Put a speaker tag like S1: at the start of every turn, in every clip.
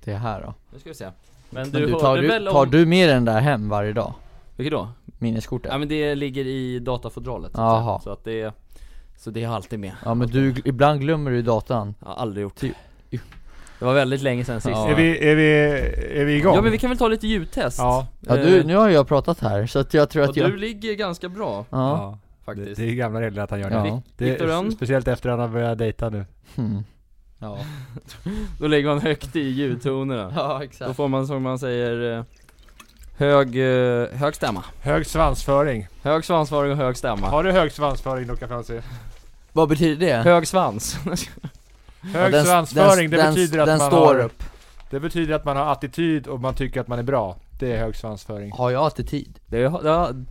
S1: till här då?
S2: Nu ska vi se Men du,
S1: Men du, tar,
S2: hörde
S1: du,
S2: väl om...
S1: tar du med den där hem varje dag?
S2: Vilket då? Ja
S1: Minneskortet?
S2: men det ligger i datafodralet så att
S1: Jaha.
S2: säga. Så att det, så det har alltid med
S1: Ja men du, ibland glömmer du i datan
S2: Jag har aldrig gjort
S1: Ty-
S2: Det var väldigt länge sedan sist
S1: Ja.
S3: Är, vi, är, vi, är vi igång?
S2: Ja men vi kan väl ta lite ljudtest?
S3: Ja.
S1: Ja du, nu har jag pratat här så att jag tror
S2: Eh. och
S1: att jag...
S2: du ligger ganska bra
S1: Ja,
S3: Det,
S2: faktiskt
S3: det är gamla regler att han gör det.
S1: ja,
S3: det
S2: Viktor Rönn?
S3: speciellt efter att han har börjat dejta nu.
S1: hmm. ja,
S2: Då lägger man högt i ljudtonerna
S1: ja
S2: Då
S1: exakt
S2: får man som man säger eh, Hög, eh, hög stämma
S3: Hög svansföring.
S2: Hög svansföring och hög stämma
S3: Har du hög svansföring Luca Franzén?
S1: Vad betyder det?
S2: Hög svans
S1: Ja,
S3: Hög
S1: den-
S3: svansföring, det
S1: den-
S3: betyder att
S1: den
S3: man
S1: står
S3: har,
S1: upp
S3: Det betyder att man har attityd och man tycker att man är bra. Det är hög svansföring.
S1: Har jag attityd?
S2: Det är, det har-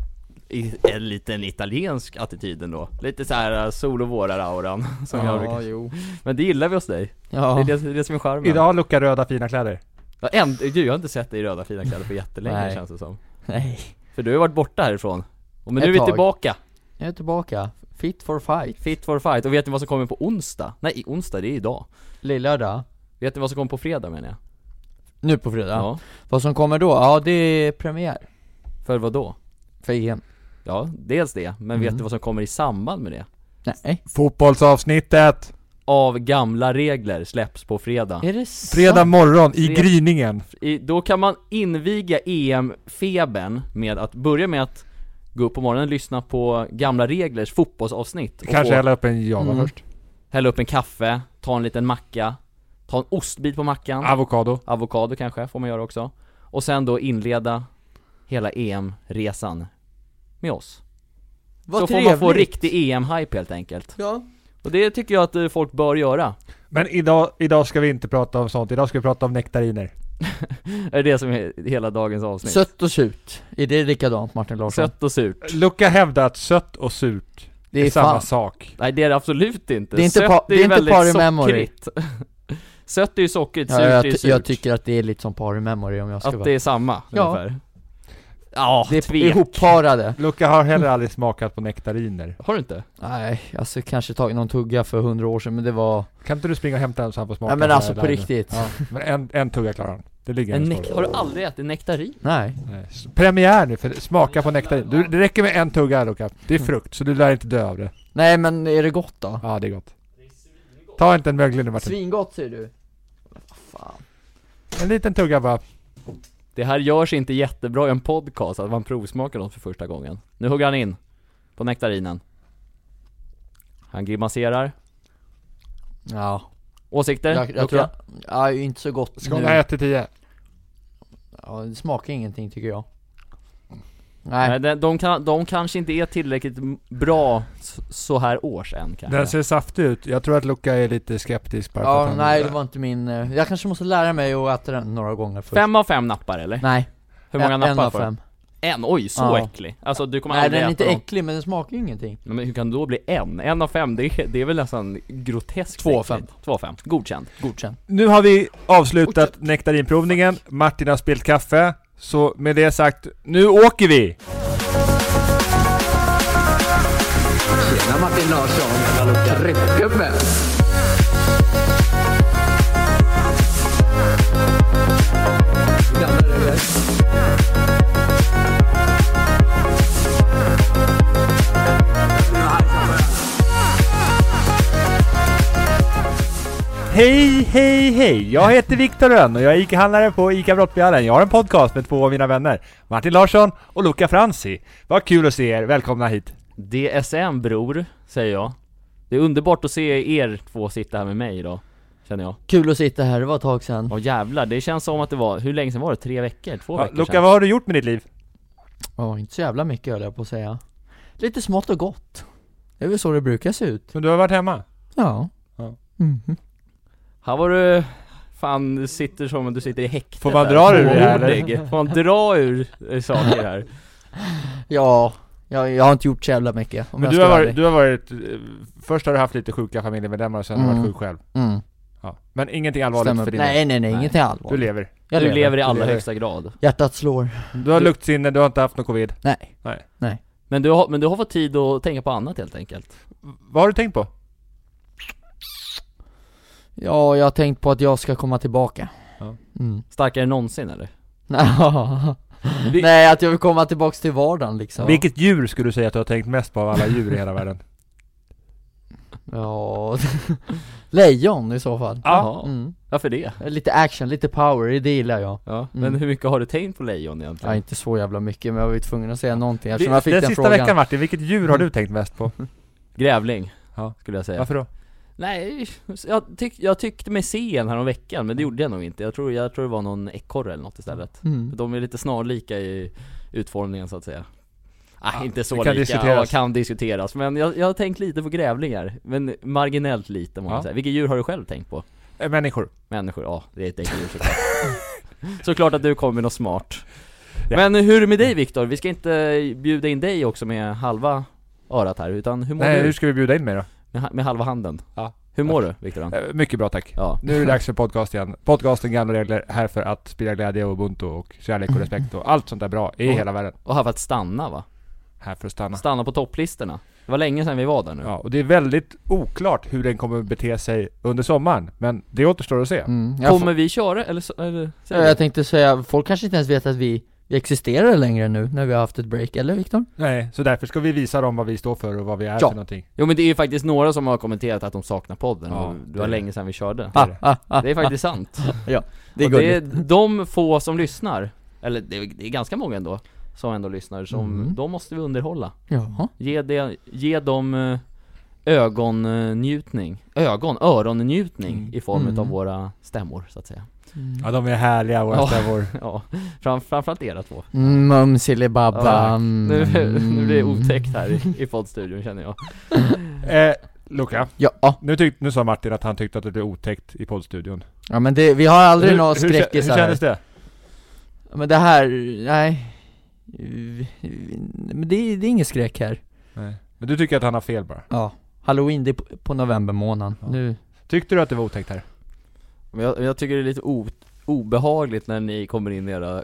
S2: i- en liten italiensk attityd ändå Lite så här eh, sol och vårar-auran som jag brukar
S1: jo
S2: Men det gillar vi hos dig,
S1: Ja,
S2: det, är det, det är det som är charmen
S3: Idag har Luca röda fina kläder.
S2: Ja, en, du, jag har inte sett dig i röda fina kläder på jättelänge
S1: Nej.
S2: känns det som
S1: nej
S2: För du har ju varit borta härifrån Och Men nu
S1: Ett
S2: är vi
S1: tag.
S2: tillbaka,
S1: Jag är tillbaka, fit for fight
S2: fit for fight, och vet ni vad som kommer på onsdag? Nej, i onsdag, det är idag
S1: Lillördag,
S2: Vet ni vad som kommer på fredag menar jag?
S1: nu på fredag Vad som kommer då? Ja det är premiär
S2: För vad då?
S1: för E EM
S2: Ja, dels det, men vet
S1: Mm.
S2: ni vad som kommer i samband med det?
S1: Nej,
S3: Fotbollsavsnittet!
S2: Av gamla regler släpps på fredag
S1: är det sant?
S3: Fredag morgon i
S2: Fred-
S3: gryningen.
S2: I, Då kan man inviga EM-febern med att börja med att gå upp på morgonen och lyssna på gamla reglers fotbollsavsnitt och
S3: Kanske
S2: få-
S3: hälla upp en java
S1: Mm.
S3: först.
S2: hälla upp en kaffe, ta en liten macka, ta en ostbit på mackan,
S3: Avokado.
S2: avokado kanske får man göra också. Och sen då inleda hela EM-resan med oss.
S1: Vad
S2: så får man få riktig E EM-hype helt enkelt.
S1: Ja
S2: Och det tycker jag att eh, folk bör göra.
S3: Men idag, idag ska vi inte prata om sånt. Idag ska vi prata om nektariner.
S2: Det är det som är hela dagens avsnitt.
S1: Sött och surt, är det likadant Martin Larsson?
S2: Sött och surt.
S3: Luca hävdar att sött och surt
S1: det
S3: är,
S1: är
S3: samma
S1: fan,
S3: sak.
S2: Nej det är det absolut inte.
S1: Det är inte
S2: Sött
S1: pa- det är
S2: ju
S1: inte
S2: väldigt
S1: Pari Memory.
S2: sockrigt. Sött är ju sockrigt, surt
S1: ja, jag,
S2: är ju
S1: ty-
S2: surt.
S1: jag tycker att det är lite som par i memory om jag ska
S2: att
S1: vara
S2: det är samma,
S1: Ja.
S2: ungefär. Ja,
S1: Det är
S2: tvek.
S1: ihopparade
S3: Luca har heller aldrig smakat på nektariner.
S2: Har du inte?
S1: Nej, alltså kanske tagit någon tugga för hundra år sedan men det var
S3: Kan inte du springa och hämta en så han får smaka?
S1: Nej men
S3: på
S1: alltså
S3: det
S1: på
S3: där nu?
S1: riktigt
S3: Ja, men en, en tugga klarar han. Det ligger
S2: En
S3: en
S2: nek- har du aldrig ätit nektarin?
S1: Nej,
S3: Nej. S- Premiär nu, för smaka på nektarin. Du, det räcker med en tugga här Luca. Det är
S1: Mm.
S3: frukt, så du lär inte dö av det.
S1: nej men är det gott då?
S3: Ja, det är gott. Ta inte en möglig nu Martin.
S1: Svingott säger du? Vad Fan.
S3: En liten tugga bara.
S2: Det här görs inte jättebra i en podcast, att man provsmakar något för första gången. Nu hugger han in, på nektarinen. Han grimaserar.
S1: Ja,
S2: Åsikter?
S1: jag, jag
S2: Luca?
S1: tror, att- ja inte så gott nu
S3: Skala 1 till 10.
S1: Ja, det smakar ingenting tycker jag Nej,
S2: Nej, de, de, kan, de kanske inte är tillräckligt m- bra s- så här års än kanske.
S3: Den ser saftig ut. Jag tror att Luca är lite skeptisk bara för att
S1: ja,
S3: han...
S1: nej det var inte min, eh, jag kanske måste lära mig att äta den några gånger först
S2: Fem av fem nappar eller?
S1: Nej,
S2: Hur många
S1: en, en
S2: nappar
S1: av
S2: får du?
S1: fem
S2: En? Oj, så
S1: Ja.
S2: äcklig. Alltså du kommer
S1: Nej
S2: aldrig
S1: den är
S2: äta
S1: inte
S2: någon.
S1: äcklig men den smakar ju ingenting
S2: Nej, Men hur kan det då bli en? En av fem, det är, det är väl nästan groteskt
S1: Två av
S2: äckligt. Två av fem. Godkänd.
S1: Godkänd
S3: Nu har vi avslutat nektarinprovningen. Martin har spilt kaffe. Så med det sagt, nu åker vi!
S4: Tjena Martin Larsson! Tryckgubbe!
S3: Hej, hej, hej! Jag heter Viktor Rönn och jag är ICA-handlare på ICA Brottbjörnen. Jag har en podcast med två av mina vänner, Martin Larsson och Luca Franzi. Vad kul att se er, välkomna hit!
S2: DSM bror, säger jag. Det är underbart att se er två sitta här med mig idag, känner jag.
S1: Kul att sitta här, det var ett tag sedan
S2: Ja jävlar, det känns som att det var, hur länge sedan var det? Tre veckor? Två
S3: Ja,
S2: veckor
S3: Luca,
S2: sedan?
S3: vad har du gjort med ditt liv?
S1: Ja, inte så jävla mycket höll jag på att säga Lite smått och gott Det är väl så det brukar se ut
S3: Men du har varit hemma?
S1: Ja
S3: Ja.
S1: Mhm.
S2: Här var du, fan du sitter som om du sitter i häktet
S3: Får man
S2: här.
S3: dra ur det här,
S2: Fåordig. Får man dra ur eh, saker här?
S1: Ja, jag, jag har inte gjort så jävla mycket om
S3: Men
S1: jag
S3: du
S1: ska
S3: har,
S1: vara
S3: varit,
S1: ärlig.
S3: du har varit... eh, Först har du haft lite sjuka familjemedlemmar och sen har du
S1: Mm.
S3: varit sjuk själv.
S1: mm.
S3: Ja. Men ingenting allvarligt
S1: Stämmer.
S3: för din
S1: Nej nej nej, ingenting
S3: Du
S1: allvarligt
S3: lever.
S1: Jag
S2: du lever i
S3: Du
S2: allra
S3: lever.
S2: högsta grad
S1: Hjärtat slår
S3: Du har luktsinne, du har inte haft någon covid.
S1: Nej
S2: men du, har, men du har fått tid att tänka på annat helt enkelt
S3: Vad har du tänkt på?
S1: Ja, jag har tänkt på att jag ska komma tillbaka Mm.
S2: Starkare än någonsin eller? Vi-
S1: Nej, att jag vill komma tillbaks till vardagen liksom.
S3: Vilket djur skulle du säga att du har tänkt mest på av alla djur i hela världen?
S1: Ja, lejon i så fall.
S2: Jaha,
S1: Mm.
S2: varför det?
S1: Lite action, lite power, det gillar jag.
S2: Ja,
S1: Mm.
S2: men hur mycket har du tänkt på lejon egentligen?
S1: Ja, inte så jävla mycket, men jag var ju tvungen att säga någonting
S3: Vi-
S1: eftersom
S3: Den
S1: jag fick den,
S3: sista
S1: frågan.
S3: veckan Martin, vilket djur har du tänkt mest på?
S2: Grävling,
S3: Ja.
S2: skulle jag säga
S3: Varför då?
S2: Nej, jag, tyck, jag tyckte mig se en här om veckan men det
S3: Mm.
S2: gjorde jag nog inte Jag tror, jag tror det var någon ekorre eller något istället
S1: Mm.
S2: De är lite snarlika i utformningen så att säga Ah,
S3: Ja,
S2: inte så
S3: det kan
S2: lika,
S3: diskuteras.
S2: Ja, kan diskuteras Men jag, jag har tänkt lite på grävlingar, men marginellt lite om man
S3: Ja.
S2: säger Vilket djur har du själv tänkt på?
S3: Eh, Människor.
S2: Människor, ja det är ett äckligt djur såklart Såklart att du kommer med något smart Men hur är det med dig Viktor? Vi ska inte bjuda in dig också med halva örat här, utan hur mår
S3: Nej,
S2: du?
S3: hur ska vi bjuda in mig då?
S2: Med, ha- med halva handen?
S3: Ja.
S2: Hur mår du Viktor?
S3: Eh, Mycket bra tack.
S2: Ja,
S3: Nu är det dags för podcast igen. Podcasten Gamla Regler, här för att sprida glädje och ubuntu och kärlek och respekt och allt sånt där bra i
S2: Och-
S3: hela världen.
S2: och här för att stanna va?
S3: Här för att stanna.
S2: Stanna på topplistorna Det var länge sedan vi var där nu
S3: Ja, och det är väldigt oklart hur den kommer bete sig under sommaren, men det återstår att se.
S1: Mm. Jag,
S2: Kommer vi köra eller, så- eller
S1: får- jag tänkte säga, folk kanske inte ens vet att vi, vi existerar längre nu när vi har haft ett break, eller Viktor?
S3: Nej, så därför ska vi visa dem vad vi står för och vad vi är
S1: Ja.
S3: för någonting.
S2: Jo men det är ju faktiskt några som har kommenterat att de saknar podden
S3: Ja,
S2: och det
S3: det
S2: var
S3: är-
S2: länge sedan vi körde
S3: Det är det.
S2: Det är faktiskt sant
S1: Det är
S2: och det
S1: gulligt.
S2: är de få som lyssnar, eller det är, det är ganska många ändå, som ändå lyssnar, som,
S1: Mm.
S2: de måste vi underhålla.
S1: Ja.
S2: Ge, det, ge dem eh, ögonnjutning, ögon, öronnjutning
S3: Mm.
S2: i form
S1: Mm.
S2: av våra stämmor så att säga.
S1: Mm.
S3: Ja, de är härliga våra
S2: Ja.
S3: stämmor.
S2: Ja, fram, framförallt era två. Ja,
S1: Mm, Mumsilibabba.
S2: Nu, nu blir det
S1: mm.
S2: otäckt här i, i poddstudion känner jag.
S3: Eh, Luca,
S1: Ja,
S3: nu, tyck, nu sa Martin att han tyckte att det blev otäckt i poddstudion.
S1: ja men det, vi har aldrig
S3: Hur-
S1: några
S3: hur, kä-
S1: skräckisar
S3: Hur kändes det?
S1: här. Men det här, nej. Men det, det är ingen skräck här.
S3: Nej. Men du tycker att han har fel bara?
S1: Ja. Halloween, det är på, på novembermånaden.
S3: Ja.
S1: Nu.
S3: Tyckte du att det var otäckt här?
S2: Men jag, jag tycker det är lite o, obehagligt när ni kommer in i era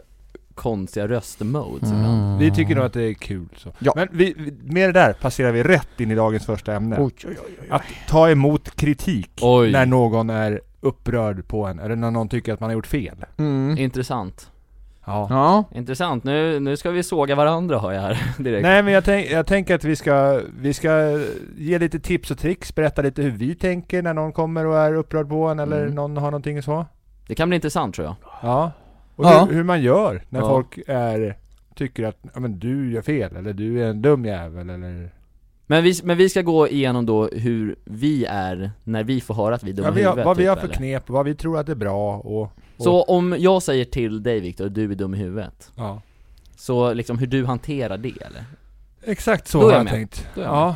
S2: konstiga röstmodes
S1: Mm.
S2: ibland.
S3: Vi tycker nog att det är kul så.
S1: Ja.
S3: Men vi, vi- med det där passerar vi rätt in i dagens första ämne.
S1: Oj, oj, oj, oj.
S3: Att ta emot kritik
S2: Oj,
S3: när någon är upprörd på en, eller när någon tycker att man har gjort fel.
S1: Mm.
S2: intressant.
S3: Ja.
S1: Ja.
S2: Intressant, nu, nu ska vi såga varandra hör jag här direkt
S3: Nej men jag, tänk, jag tänker att vi ska, vi ska ge lite tips och tricks, berätta lite hur vi tänker när någon kommer och är upprörd på en eller
S2: Mm.
S3: någon har någonting så.
S2: Det kan bli intressant tror jag
S3: Ja. Och
S1: Ja.
S3: Hur, hur man gör när
S2: Ja.
S3: folk är, tycker att ja, men du gör fel, eller du är en dum jävel, eller...
S2: men vi, men vi ska gå igenom då hur vi är när vi får höra att vi är dumma
S3: Ja,
S2: i
S3: vi har,
S2: huvudet
S3: vad vi
S2: typ,
S3: har för
S2: eller?
S3: knep, vad vi tror att är bra och...
S2: Så om jag säger till dig Viktor, du är dum i huvudet
S3: Ja.
S2: Så liksom hur du hanterar det eller?
S3: Exakt så
S2: Då är
S3: har
S2: jag
S3: jag
S2: med.
S3: tänkt.
S2: Då är jag
S3: ja.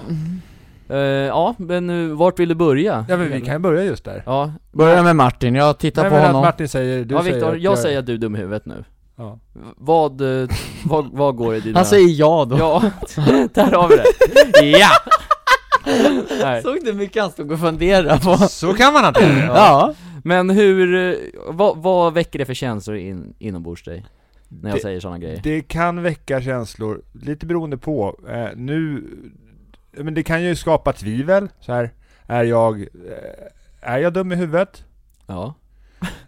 S2: Eh, ja, men uh, vart vill du börja?
S3: ja, men vi kan börja just där.
S2: Ja,
S1: Börja med Martin, jag tittar
S3: Nej,
S1: på
S3: men att
S1: honom.
S3: Martin säger, du
S2: ja
S3: säger
S2: Viktor,
S3: att
S2: jag säger att du är dum i huvudet nu
S3: Ja.
S2: V- Vad, eh, vad, vad går i dina...
S1: Han säger ja då.
S2: Ja, där har vi det! Ja! Nej.
S1: Såg du hur mycket han stod och funderade på?
S3: Så kan man hantera det.
S1: Ja.
S2: Men hur, eh, vad, vad väcker det för känslor in, inombords dig? När jag
S3: Det-
S2: säger sådana grejer?
S3: Det kan väcka känslor, lite beroende på. Eh, nu, men det kan ju skapa tvivel. Så här, är jag, eh, är jag dum i huvudet?
S2: Ja,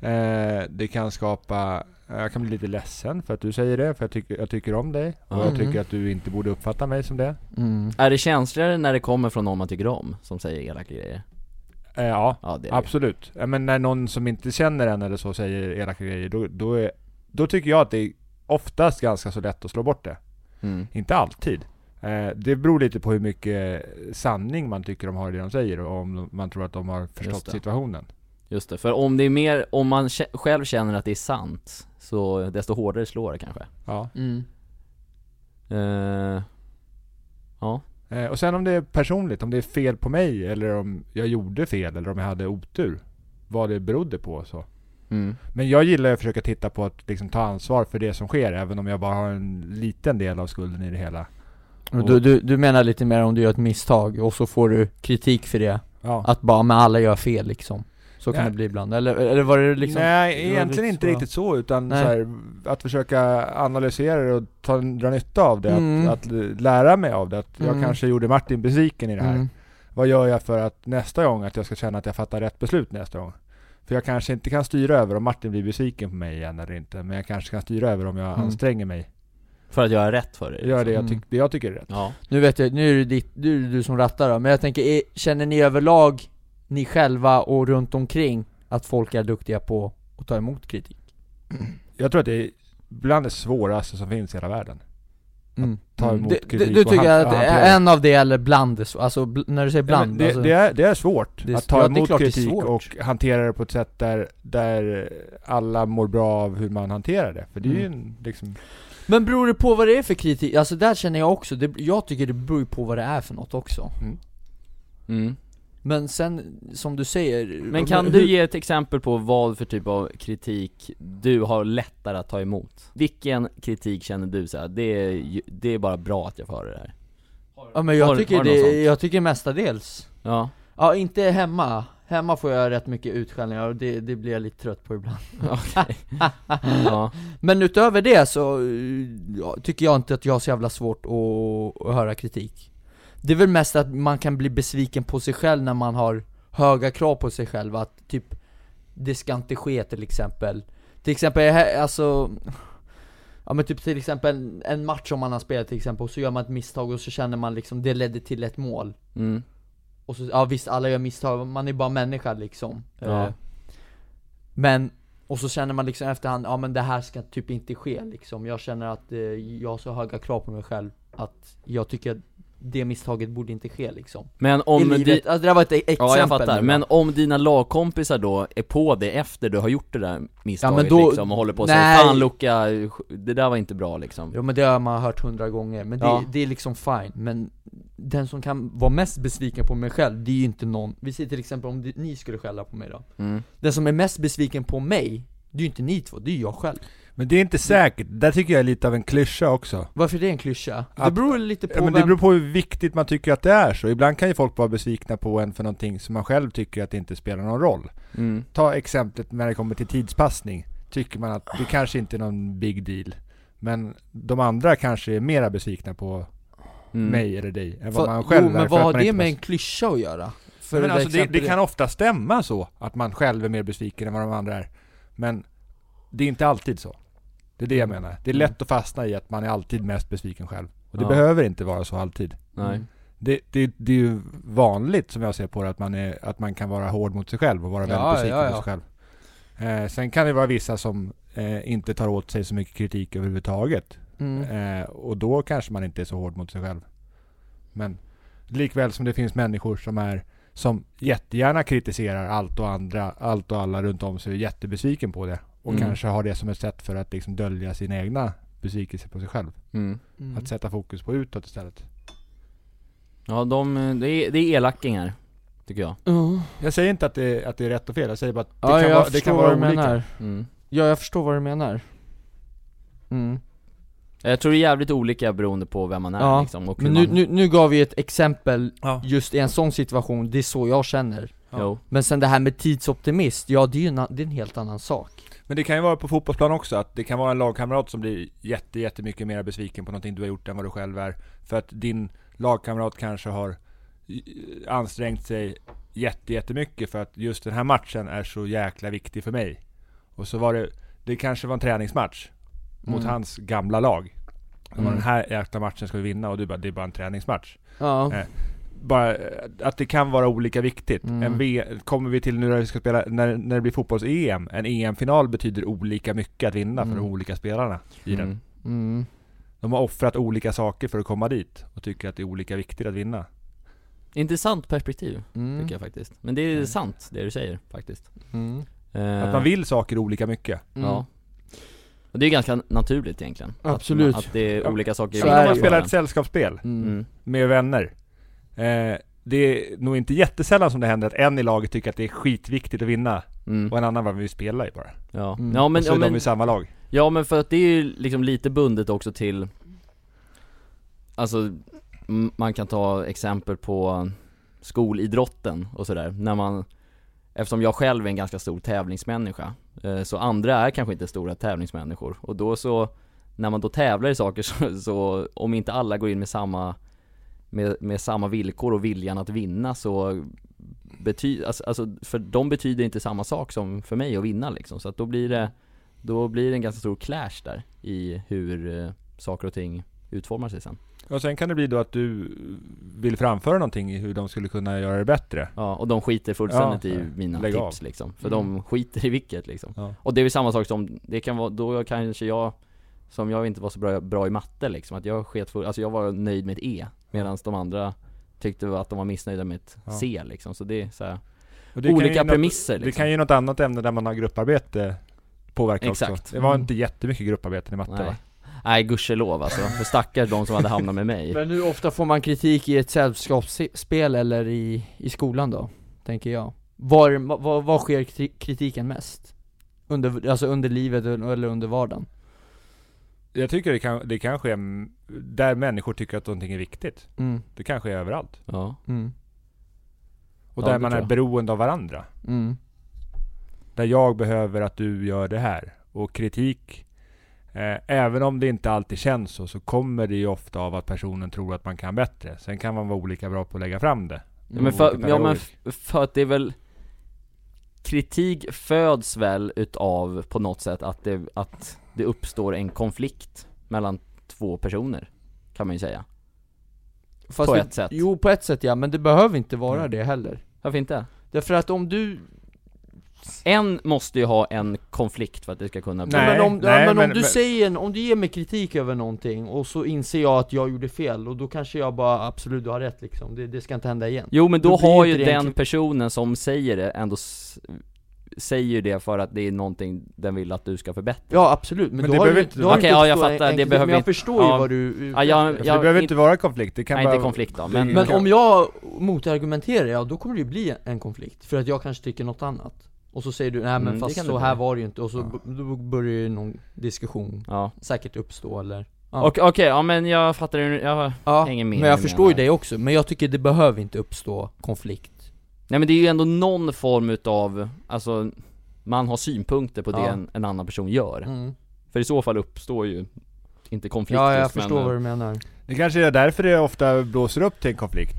S3: Eh, det kan skapa, eh, jag kan bli lite ledsen för att du säger det, för jag, tycker jag tycker om dig. Och jag
S1: Mm.
S3: tycker att du inte borde uppfatta mig som det.
S1: Mm.
S2: är det känsligare när det kommer från någon man tycker om, som säger elaka grejer?
S3: Eh, ja,
S2: Ja det är det.
S3: absolut. Eh, men när någon som inte känner en eller så säger elaka grejer, då, då, är, då tycker jag att det är oftast ganska så lätt att slå bort det.
S2: mm.
S3: Inte alltid. Eh, det beror lite på hur mycket sanning man tycker de har i det de säger och om de- man tror att de har
S2: Just
S3: förstått
S2: det.
S3: situationen.
S2: Just det, för om det är mer, om man kä- själv känner att det är sant, så desto hårdare slår det kanske
S3: Ja.
S1: Mm.
S2: Eh, Ja,
S3: Eh, och sen om det är personligt, om det är fel på mig eller om jag gjorde fel eller om jag hade otur. Vad det berodde på och så.
S2: mm.
S3: Men jag gillar att försöka titta på att liksom ta ansvar för det som sker även om jag bara har en liten del av skulden i det hela.
S1: Och Du, du, du menar lite mer om du gör ett misstag och så får du kritik för det?
S3: Ja.
S1: Att bara, men alla gör fel liksom? Så kan
S3: Nej.
S1: det bli ibland, eller, eller var det liksom?
S3: Nej,
S1: det var
S3: egentligen
S1: lite så.
S3: inte riktigt så utan så
S1: Nej.
S3: här, att försöka analysera det och ta, dra nytta av det,
S1: Mm.
S3: att, att lära mig av det. Att jag
S1: Mm.
S3: kanske gjorde Martin besviken i det här.
S1: Mm.
S3: Vad gör jag för att nästa gång, att jag ska känna att jag fattar rätt beslut nästa gång? För jag kanske inte kan styra över om Martin blir besviken på mig igen eller inte. Men jag kanske kan styra över om jag
S1: Mm.
S3: anstränger mig.
S2: För att göra rätt för dig
S3: Gör
S2: liksom.
S3: det jag,
S1: Mm.
S3: tyck- det jag tycker är rätt.
S2: Ja,
S1: Nu vet jag, nu är det ditt, nu är det du som rattar då, men jag tänker, är, känner ni överlag, ni själva och runt omkring att folk är duktiga på att ta emot kritik?
S3: Jag tror att det är bland det svåraste som finns i hela världen.
S1: Mm.
S3: ta emot
S1: du,
S3: kritik
S1: du, du
S3: och
S1: tycker
S3: han-
S1: att
S3: och
S1: det
S3: hantera
S1: är en av det eller bland det, så- alltså bl- när du säger
S3: Ja,
S1: bland,
S3: men det,
S1: alltså,
S3: det, är, det är svårt
S1: Det är-
S3: att ta
S1: ja, det är
S3: emot
S1: klart det är
S3: kritik
S1: svårt.
S3: och hantera det på ett sätt där, där alla mår bra av hur man hanterar det. För det är ju
S1: Mm.
S3: en, liksom,
S1: Men beror det på vad det är för kritik? Alltså där känner jag också, det, jag tycker det beror ju på vad det är för något också
S2: mm.
S1: Men sen, som du säger
S2: Men kan
S1: hur-
S2: du ge ett exempel på vad för typ av kritik du har lättare att ta emot? Vilken kritik känner du så här, det är, ju- det är bara bra att jag får höra det här?
S1: Ja men jag
S2: har-
S1: tycker
S2: har du något
S1: det,
S2: sånt?
S1: jag tycker mestadels
S2: Ja,
S1: Ja inte hemma, hemma får jag rätt mycket utskällningar och det, det blir jag lite trött på ibland
S2: okej Ja,
S1: Men utöver det så eh, ja, tycker jag inte att jag har så jävla svårt att, att höra kritik Det är väl mest att man kan bli besviken på sig själv när man har höga krav på sig själv att typ Det ska inte ske till exempel Till exempel, jag hä- alltså Ja men typ till exempel en match som man har spelat till exempel och så gör man ett misstag och så känner man liksom det ledde till ett mål
S2: mm.
S1: och så, ja visst alla gör misstag, man är bara människa liksom
S2: Ja.
S1: Eh, Men, och så känner man liksom efterhand, ja men det här ska typ inte ske liksom Jag känner att eh, jag har så höga krav på mig själv att jag tycker att det misstaget borde inte ske liksom
S2: Men
S1: I
S2: om
S1: livet,
S2: di-
S1: alltså det där var ett e- exempel
S2: Ja jag fattar,
S1: nu,
S2: men
S1: va?
S2: om dina lagkompisar då är på det efter du har gjort det där misstaget
S1: Ja, men då-
S2: liksom och håller på och säger
S1: Nej.
S2: 'Fan Luka, det där var inte bra' liksom
S1: Jo men det har man hört hundra gånger, men det,
S2: Ja.
S1: det är liksom fine Men den som kan vara mest besviken på mig själv, det är ju inte någon Vi säger till exempel om det- ni skulle skälla på mig då
S2: mm.
S1: Den som är mest besviken på mig, det är ju inte ni två, det är ju jag själv
S3: men det är inte säkert. Där tycker jag är lite av en klyscha också.
S1: Varför är det en klyscha? Det
S3: Att-
S1: beror lite på
S3: Ja, men det
S1: vem
S3: beror på hur viktigt man tycker att det är så. Ibland kan ju folk vara besvikna på en för någonting som man själv tycker att det inte spelar någon roll.
S2: Mm.
S3: Ta exemplet när det kommer till tidspassning. Tycker man att det kanske inte är någon big deal. Men de andra kanske är mera besvikna på
S2: Mm.
S3: mig eller dig än vad
S1: Fa-
S3: man själv
S1: jo,
S3: är.
S1: men
S3: för
S1: vad
S3: att
S1: har
S3: man
S1: det
S3: inte
S1: med
S3: pass-
S1: en klyscha att göra? För
S3: men
S1: det
S3: alltså det, det
S1: exempel-
S3: kan ofta stämma så, att man själv är mer besviken än vad de andra är. Men det är inte alltid så. Det är det jag
S1: Mm.
S3: menar. Det är lätt att fastna i att man är alltid mest besviken själv. Och det
S2: Ja.
S3: behöver inte vara så alltid.
S2: Nej.
S1: Mm.
S3: Det, det, det är ju vanligt som jag ser på det att man, är, att man kan vara hård mot sig själv och vara väldigt
S1: Ja,
S3: besviken
S1: ja,
S3: på
S1: ja.
S3: sig själv. Eh, sen kan det vara vissa som eh, inte tar åt sig så mycket kritik överhuvudtaget.
S1: Mm.
S3: Eh, och då kanske man inte är så hård mot sig själv. Men likväl som det finns människor som är som jättegärna kritiserar allt och andra, allt och alla runt om sig och är jättebesviken på det. Och
S2: Mm.
S3: kanske har det som ett sätt för att liksom dölja sina egna besvikelser på sig själv.
S2: Mm.
S1: Mm.
S3: Att sätta fokus på utåt istället.
S2: Ja de, det är, det är elackingar, tycker jag
S1: Ja,
S3: Jag säger inte att det, att det är rätt och fel, jag säger bara att det
S1: ja,
S3: kan,
S1: jag
S3: vara,
S1: förstår
S3: det kan
S1: vad
S3: vara
S1: du
S3: olika.
S1: menar
S2: mm.
S1: Ja, jag förstår vad du menar mm.
S2: Jag tror det är jävligt olika beroende på vem man är
S1: Ja,
S2: liksom och hur
S1: Men nu,
S2: man...
S1: nu, nu gav vi ett exempel
S3: Ja.
S1: just i en sån situation, det är så jag känner
S2: Jo.
S1: Men sen det här med tidsoptimist, ja det är ju en, a- det är en helt annan sak
S3: Men det kan ju vara på fotbollsplan också, att det kan vara en lagkamrat som blir jätte, jättemycket mer besviken på någonting du har gjort än vad du själv är. För att din lagkamrat kanske har eh, ansträngt sig jätte, jättemycket för att just den här matchen är så jäkla viktig för mig. Och så var det, det kanske var en träningsmatch mot
S1: Mm.
S3: hans gamla lag. Det var
S1: Mm.
S3: Den här jäkla matchen ska vi vinna och du bara, det är bara en träningsmatch.
S1: Ja,
S3: Eh, Bara eh, att det kan vara olika viktigt.
S1: Mm.
S3: En v, kommer vi till nu när vi ska spela, när, när det blir fotbolls-EM, en EM-final betyder olika mycket att vinna för
S1: Mm.
S3: de olika spelarna i den.
S2: Mm.
S1: mm.
S3: De har offrat olika saker för att komma dit och tycker att det är olika viktigt att vinna.
S2: Intressant perspektiv,
S1: Mm.
S2: tycker jag faktiskt Men det är
S1: Mm.
S2: sant, det du säger faktiskt
S1: Mm.
S2: Eh,
S3: Att man vill saker olika mycket.
S1: Mm.
S2: Ja Och det är ganska naturligt egentligen
S1: Absolut.
S2: Att, att det är olika saker
S1: Så
S3: Även
S1: är
S3: om
S1: det
S3: man
S1: ju.
S3: spelar ett sällskapsspel
S1: Mm.
S2: mm.
S3: med vänner. Eh, det är nog inte jättesällan som det händer att en i laget tycker att det är skitviktigt att vinna
S2: Mm.
S3: och en annan bara, vi spelar ju bara.
S2: Ja.
S1: Mm.
S2: Ja, men,
S3: och så
S2: ja,
S3: är de
S2: men,
S3: i samma lag.
S2: ja men för att det är ju liksom lite bundet också till Alltså, m- man kan ta exempel på skolidrotten och sådär, när man Eftersom jag själv är en ganska stor tävlingsmänniska eh, Så andra är kanske inte stora tävlingsmänniskor och då så När man då tävlar i saker så, så om inte alla går in med samma med, med samma villkor och viljan att vinna så betyder, alltså, alltså, för de betyder inte samma sak som för mig att vinna liksom. Så att då blir det, då blir det en ganska stor clash där i hur eh, saker och ting utformar sig sen.
S3: Och sen kan det bli då att du vill framföra någonting i hur de skulle kunna göra det bättre.
S2: Ja, och de skiter fullständigt
S3: Ja,
S2: i
S3: nej.
S2: mina
S3: Lägg
S2: tips
S3: av.
S2: liksom. För
S1: Mm.
S2: de skiter i vilket liksom.
S3: Ja.
S2: Och det är väl samma sak som, det kan vara, då kanske jag, som jag inte var så bra, bra i matte liksom, att jag sket full, alltså jag var nöjd med ett E. Medan de andra tyckte att de var missnöjda med ett
S3: Ja.
S2: C liksom. Så det är så här,
S3: Och det kan ju
S2: olika
S3: något-
S2: premisser
S3: Det
S2: liksom.
S3: kan ju något annat ämne där man har grupparbete påverka
S2: Exakt.
S3: också. Det var
S1: Mm.
S3: inte jättemycket grupparbeten i matte
S2: Nej.
S3: va?
S2: Nej gudskelov alltså, för stackars de som hade hamnat med mig
S1: Men hur ofta får man kritik i ett sällskapsspel eller i, i skolan då? Tänker jag. Var, var, var sker kriti- kritiken mest? Under, alltså under livet eller under vardagen?
S3: Jag tycker det kan, det kan ske mm, där människor tycker att någonting är viktigt.
S1: Mm,
S3: Det kan ske överallt.
S2: Ja,
S1: mm,
S3: Och
S2: Ja,
S3: där
S2: det
S3: man
S2: tror
S3: är
S2: jag.
S3: beroende av varandra.
S1: mm,
S3: Där jag behöver att du gör det här. Och kritik, eh, även om det inte alltid känns så, så kommer det ju ofta av att personen tror att man kan bättre. Sen kan man vara olika bra på att lägga fram det. Alltså,
S2: ja men, för, ja, men
S3: pedagogik.
S2: f- för att det är väl Kritik föds väl utav på något sätt att det, att det uppstår en konflikt mellan två personer Kan man ju säga,
S1: Fast
S2: på
S1: det,
S2: ett sätt
S1: Jo, på ett sätt ja, men det behöver inte vara
S3: Mm.
S1: det heller
S2: Varför inte?
S1: Därför att om du,
S2: En måste ju ha en konflikt för att det ska kunna bli
S3: Nej,
S1: men om,
S3: nej,
S1: ja, men om
S3: men-
S1: du
S3: men-
S1: säger, en- om du ger mig kritik över någonting och så inser jag att jag gjorde fel och då kanske jag bara absolut du har rätt liksom, det, det ska inte hända igen
S2: Jo men då,
S1: Då blir
S2: har
S1: ju
S2: ju
S1: inte det
S2: den
S1: en kli-
S2: personen som säger det ändå s- Säger det för att det är någonting den vill att du ska förbättra
S1: Ja absolut, men,
S3: Men
S1: då
S3: det
S1: har
S3: behöver
S1: du,
S3: inte
S1: då har
S2: vara-
S1: du inte
S2: Okej, ja, jag
S1: uppstått
S2: fattar,
S1: en
S2: det
S1: konflikt,
S2: behöver
S1: Men jag
S2: inte-
S1: förstår
S2: ja.
S1: ju vad du
S2: Ja, jag-
S3: För
S2: jag-
S3: det behöver
S2: inte-
S3: inte vara konflikt. Det kan
S2: Nej
S3: bara...
S2: inte konflikt då, men,
S1: Men om jag motargumenterar, ja då kommer det ju bli en konflikt För att jag kanske tycker något annat Och så säger du nej men
S2: Mm, det
S1: fast
S2: kan
S1: så
S2: det
S1: här
S2: bli.
S1: var det ju inte och så
S3: Ja.
S1: b- då börjar ju någon diskussion
S2: ja
S1: säkert uppstå eller Ja.
S2: Och- Okej, ja men jag fattar det nu, jag
S1: Ja,
S2: hänger med
S1: men jag
S2: nu,
S1: förstår
S2: menar
S1: ju dig också, men jag tycker det behöver inte uppstå konflikt
S2: Nej men det är ju ändå någon form utav, alltså man har synpunkter på det
S1: Ja.
S2: en, en annan person gör.
S1: mm.
S2: För i så fall uppstår ju, inte konflikt
S1: Ja, jag
S2: just,
S1: förstår
S2: men,
S1: vad du menar
S3: Det kanske är därför det ofta blåser upp till en konflikt.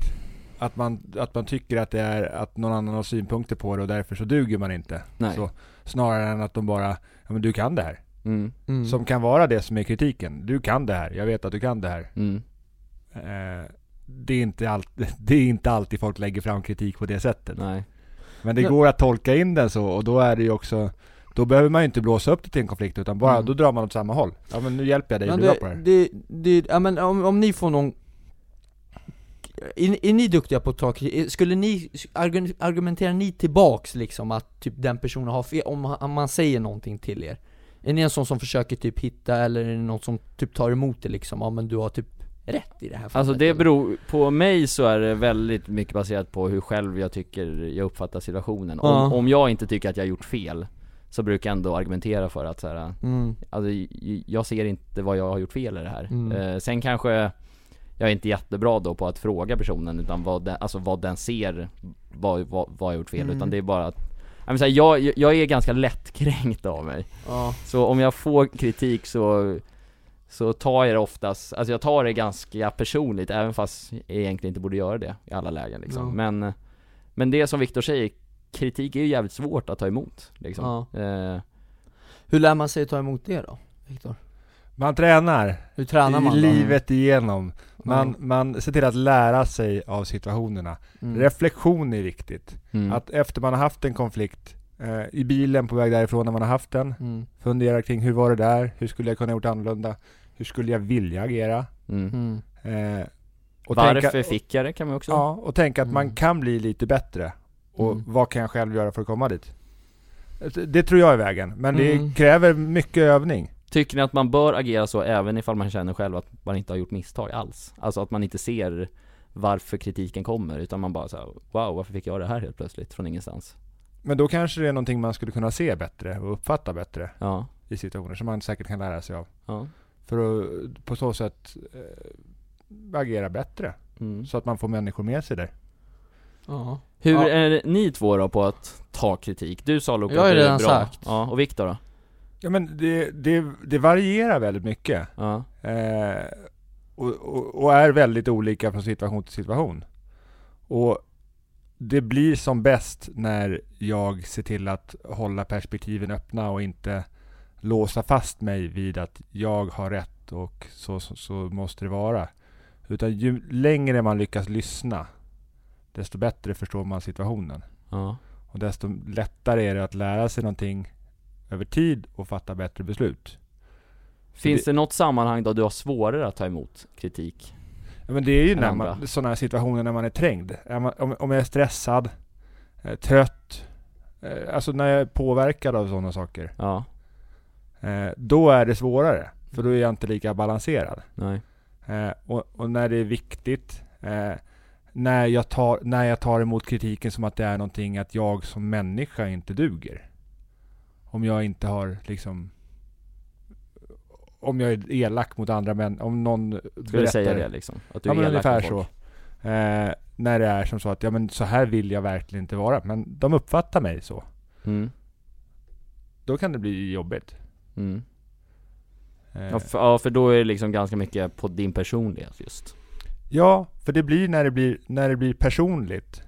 S3: Att man, att man tycker att det är att någon annan har synpunkter på det och därför så duger man inte.
S2: Nej.
S3: Så, snarare än att de bara, ja men du kan det här.
S2: Mm,
S1: mm.
S3: Som kan vara det som är kritiken. Du kan det här, jag vet att du kan det här.
S2: mm.
S3: Eh, det, är inte allt, det är inte alltid folk lägger fram kritik på det sättet.
S2: Nej.
S3: Men det
S1: Men-
S3: går att tolka in den så och då är det ju också då behöver man ju inte blåsa upp det till en konflikt utan bara,
S1: Mm.
S3: då drar man åt samma håll. Ja men nu hjälper jag dig,
S1: Men
S3: du är bra på det
S1: det,
S3: här.
S1: det, det, ja, men om, om ni får någon är, är ni duktiga på att ta kritik? Skulle ni, argu- argumenterar ni tillbaks liksom att typ den personen har fel, om, han- om man säger någonting till er? Är ni en sån som försöker typ hitta, eller är det någon som typ tar emot det liksom? Ja men du har typ rätt i det här fallet
S2: Alltså det
S1: eller?
S2: beror, på mig så är det väldigt mycket baserat på hur själv jag tycker jag uppfattar situationen. Om,
S1: Ja.
S2: om jag inte tycker att jag har gjort fel, så brukar jag ändå argumentera för att så här,
S1: mm.
S2: alltså, j- jag ser inte vad jag har gjort fel i det här.
S1: Mm.
S2: Eh, sen kanske jag är inte jättebra då på att fråga personen utan vad den, alltså vad den ser, vad, vad, vad jag har gjort fel.
S1: Mm.
S2: Utan det är bara att, jag, menar, så här, jag, jag är ganska lättkränkt av mig.
S1: ja.
S2: Så om jag får kritik så, så tar jag det oftast, alltså jag tar det ganska personligt även fast jag egentligen inte borde göra det i alla lägen liksom.
S1: Ja.
S2: Men, men det som Viktor säger, kritik är ju jävligt svårt att ta emot liksom. Eh,
S1: Hur lär man sig att ta emot det då? Viktor?
S3: Man tränar.
S1: Hur tränar man
S3: I
S1: då?
S3: livet igenom. Man,
S1: Mm.
S3: man ser till att lära sig av situationerna.
S1: Mm.
S3: Reflektion är viktigt.
S2: mm.
S3: Att efter man har haft en konflikt, eh, i bilen på väg därifrån när man har haft den,
S1: Mm.
S3: fundera kring hur var det där? Hur skulle jag kunna gjort annorlunda? Hur skulle jag vilja agera?
S2: mm.
S1: Mm.
S3: Eh, och
S2: Varför
S3: tänka,
S2: fick jag det kan man också
S3: Ja, och tänka att man
S1: Mm.
S3: kan bli lite bättre. Och
S1: Mm.
S3: vad kan jag själv göra för att komma dit? Alltså, Det- Det tror jag är vägen, men
S1: Mm.
S3: det kräver mycket övning.
S2: Tycker ni att man bör agera så även ifall man känner själv att man inte har gjort misstag alls? Alltså att man inte ser varför kritiken kommer utan man bara såhär Wow, varför fick jag det här helt plötsligt från ingenstans?
S3: Men då kanske det är någonting man skulle kunna se bättre och uppfatta bättre
S2: Ja,
S3: i situationer som man säkert kan lära sig av.
S2: ja,
S3: För att på så sätt eh, agera bättre.
S2: mm.
S3: Så att man får människor med sig där.
S1: Ja.
S2: Hur
S1: Ja.
S2: är ni två då på att ta kritik? Du sa Lukas
S1: Jag har
S2: att
S1: ju
S2: det är
S1: redan
S2: bra
S1: sagt.
S2: Ja, och Viktor då?
S3: Ja men det, det, det varierar väldigt mycket.
S2: Ja,
S3: Eh, och, och, och är väldigt olika från situation till situation. Och det blir som bäst när jag ser till att hålla perspektiven öppna och inte låsa fast mig vid att jag har rätt och så, så, så måste det vara. Utan ju längre man lyckas lyssna, desto bättre förstår man situationen.
S2: Ja.
S3: Och desto lättare är det att lära sig någonting över tid och fatta bättre beslut.
S2: Finns det något sammanhang då du har svårare att ta emot kritik?
S3: Ja, men det är ju
S2: än
S3: när
S2: andra.
S3: man, sådana här situationer när man är trängd. Är man, om, om jag är stressad, eh, trött, eh, alltså när jag är påverkad av sådana saker.
S2: Ja,
S3: Eh, då är det svårare, för då är jag inte lika balanserad.
S2: nej.
S3: Eh, och, och när det är viktigt, eh, när, jag tar, när jag tar emot kritiken som att det är någonting att jag som människa inte duger. Om jag inte har liksom om jag är elak mot andra män, om någon
S2: Ska du säga det liksom? Att du
S3: ja,
S2: är
S3: men
S2: elak
S3: ungefär
S2: mot
S3: så.
S2: folk.
S3: Eh, när det är som så att, ja men så här vill jag verkligen inte vara, men de uppfattar mig så.
S2: Mm.
S3: Då kan det bli jobbigt.
S2: Mm.
S3: Eh,
S2: Ja, för, ja, för då är det liksom ganska mycket på din personlighet just.
S3: ja, för det blir när det blir, när det blir personligt.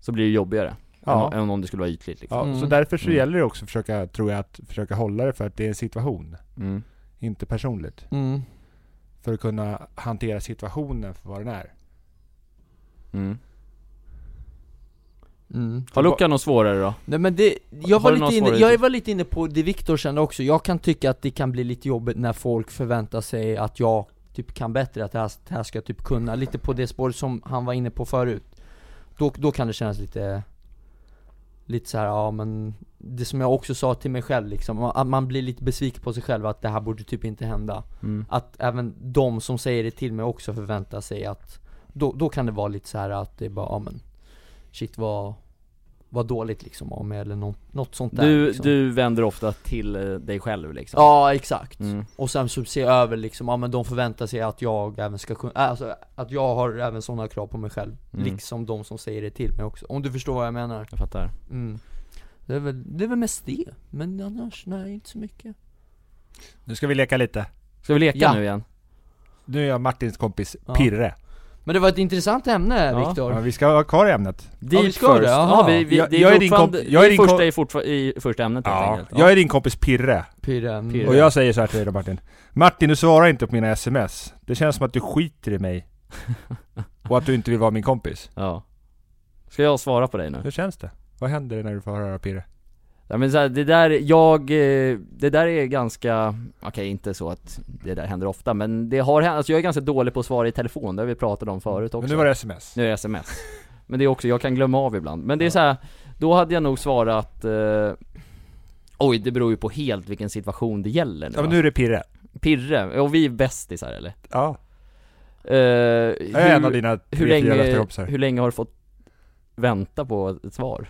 S2: Så blir det jobbigare.
S3: Ja.
S2: Än, än om det skulle vara ytligt liksom.
S3: Ja,
S1: Mm.
S3: Så därför så
S2: Mm.
S3: gäller det också att försöka, tror jag, att försöka hålla det för att det är en situation,
S2: Mm.
S3: inte personligt.
S1: Mm.
S3: För att kunna hantera situationen för vad den är.
S2: Mm.
S1: Mm.
S2: Har Luca något svårare då?
S1: Nej men det, jag
S2: Har
S1: var,
S2: du någon
S1: lite inne,
S2: svårighet?
S1: jag var lite inne på det Viktor kände också, jag kan tycka att det kan bli lite jobbigt när folk förväntar sig att jag typ kan bättre, att det här, det här ska jag typ kunna, lite på det spåret som han var inne på förut Då, då kan det kännas lite, lite så här, ja men Det som jag också sa till mig själv liksom, att man blir lite besviken på sig själv att det här borde typ inte hända
S2: Mm.
S1: Att även de som säger det till mig också förväntar sig att Då, då kan det vara lite så här att det är bara, ja men Shit vad, vad dåligt liksom av mig eller något, något sånt där
S2: Du,
S1: liksom.
S2: du vänder ofta till eh, dig själv liksom?
S1: Ja exakt
S2: Mm.
S1: Och sen så se över liksom, ja men de förväntar sig att jag även ska kunna, äh, alltså att jag har även sådana krav på mig själv
S2: Mm.
S1: Liksom de som säger det till mig också, om du förstår vad jag menar
S2: Jag fattar.
S1: mm. det, är väl, det är väl mest det, men annars nej inte så mycket
S3: Nu ska vi leka lite.
S2: Ska vi leka
S1: Ja.
S2: nu igen?
S3: Nu är jag Martins kompis
S1: Ja.
S3: Pirre.
S1: Men det var ett intressant ämne
S2: Ja.
S1: Viktor
S3: Ja, vi ska ha kvar ämnet.
S1: Ja, vi ska det,
S2: Ja,
S1: aha.
S2: vi, vi,
S3: Jag-
S2: det är
S3: jag är din
S2: fortfarande,
S3: komp- jag är
S2: vi
S3: din
S2: första
S3: kom-
S2: i, fortfar- i första ämnet helt
S3: Ja.
S2: enkelt.
S3: Jag är din kompis Pirre.
S1: Pirre, mm.
S2: Pirre.
S3: Och jag säger så här till dig då Martin. Martin, du svarar inte på mina sms. Det känns som att du skiter i mig. Och att du inte vill vara min kompis.
S2: Ja. Ska jag svara på dig nu?
S3: Hur känns det? Vad händer när du får höra Pirre?
S2: Ja, men så här, det där, jag, eh, det där är ganska, okej inte så att det där händer ofta men det har hänt, alltså jag är ganska dålig på att svara i telefon, det har vi pratat om förut också
S3: Men nu var det sms.
S2: Nu är det sms Men det är också, jag kan glömma av ibland, men det är så här, då hade jag nog svarat eh, Oj, det beror ju på helt vilken situation det gäller nu,
S3: Ja men
S2: va?
S3: nu är det Pirre.
S2: Pirre, och vi är bästisar eller?
S3: Ja.
S2: Eh,
S3: Jag är en av
S2: hur,
S3: dina
S2: hur,
S3: tre, fyra bästa
S2: länge,
S3: kompisar.
S2: hur länge har du fått vänta på ett svar?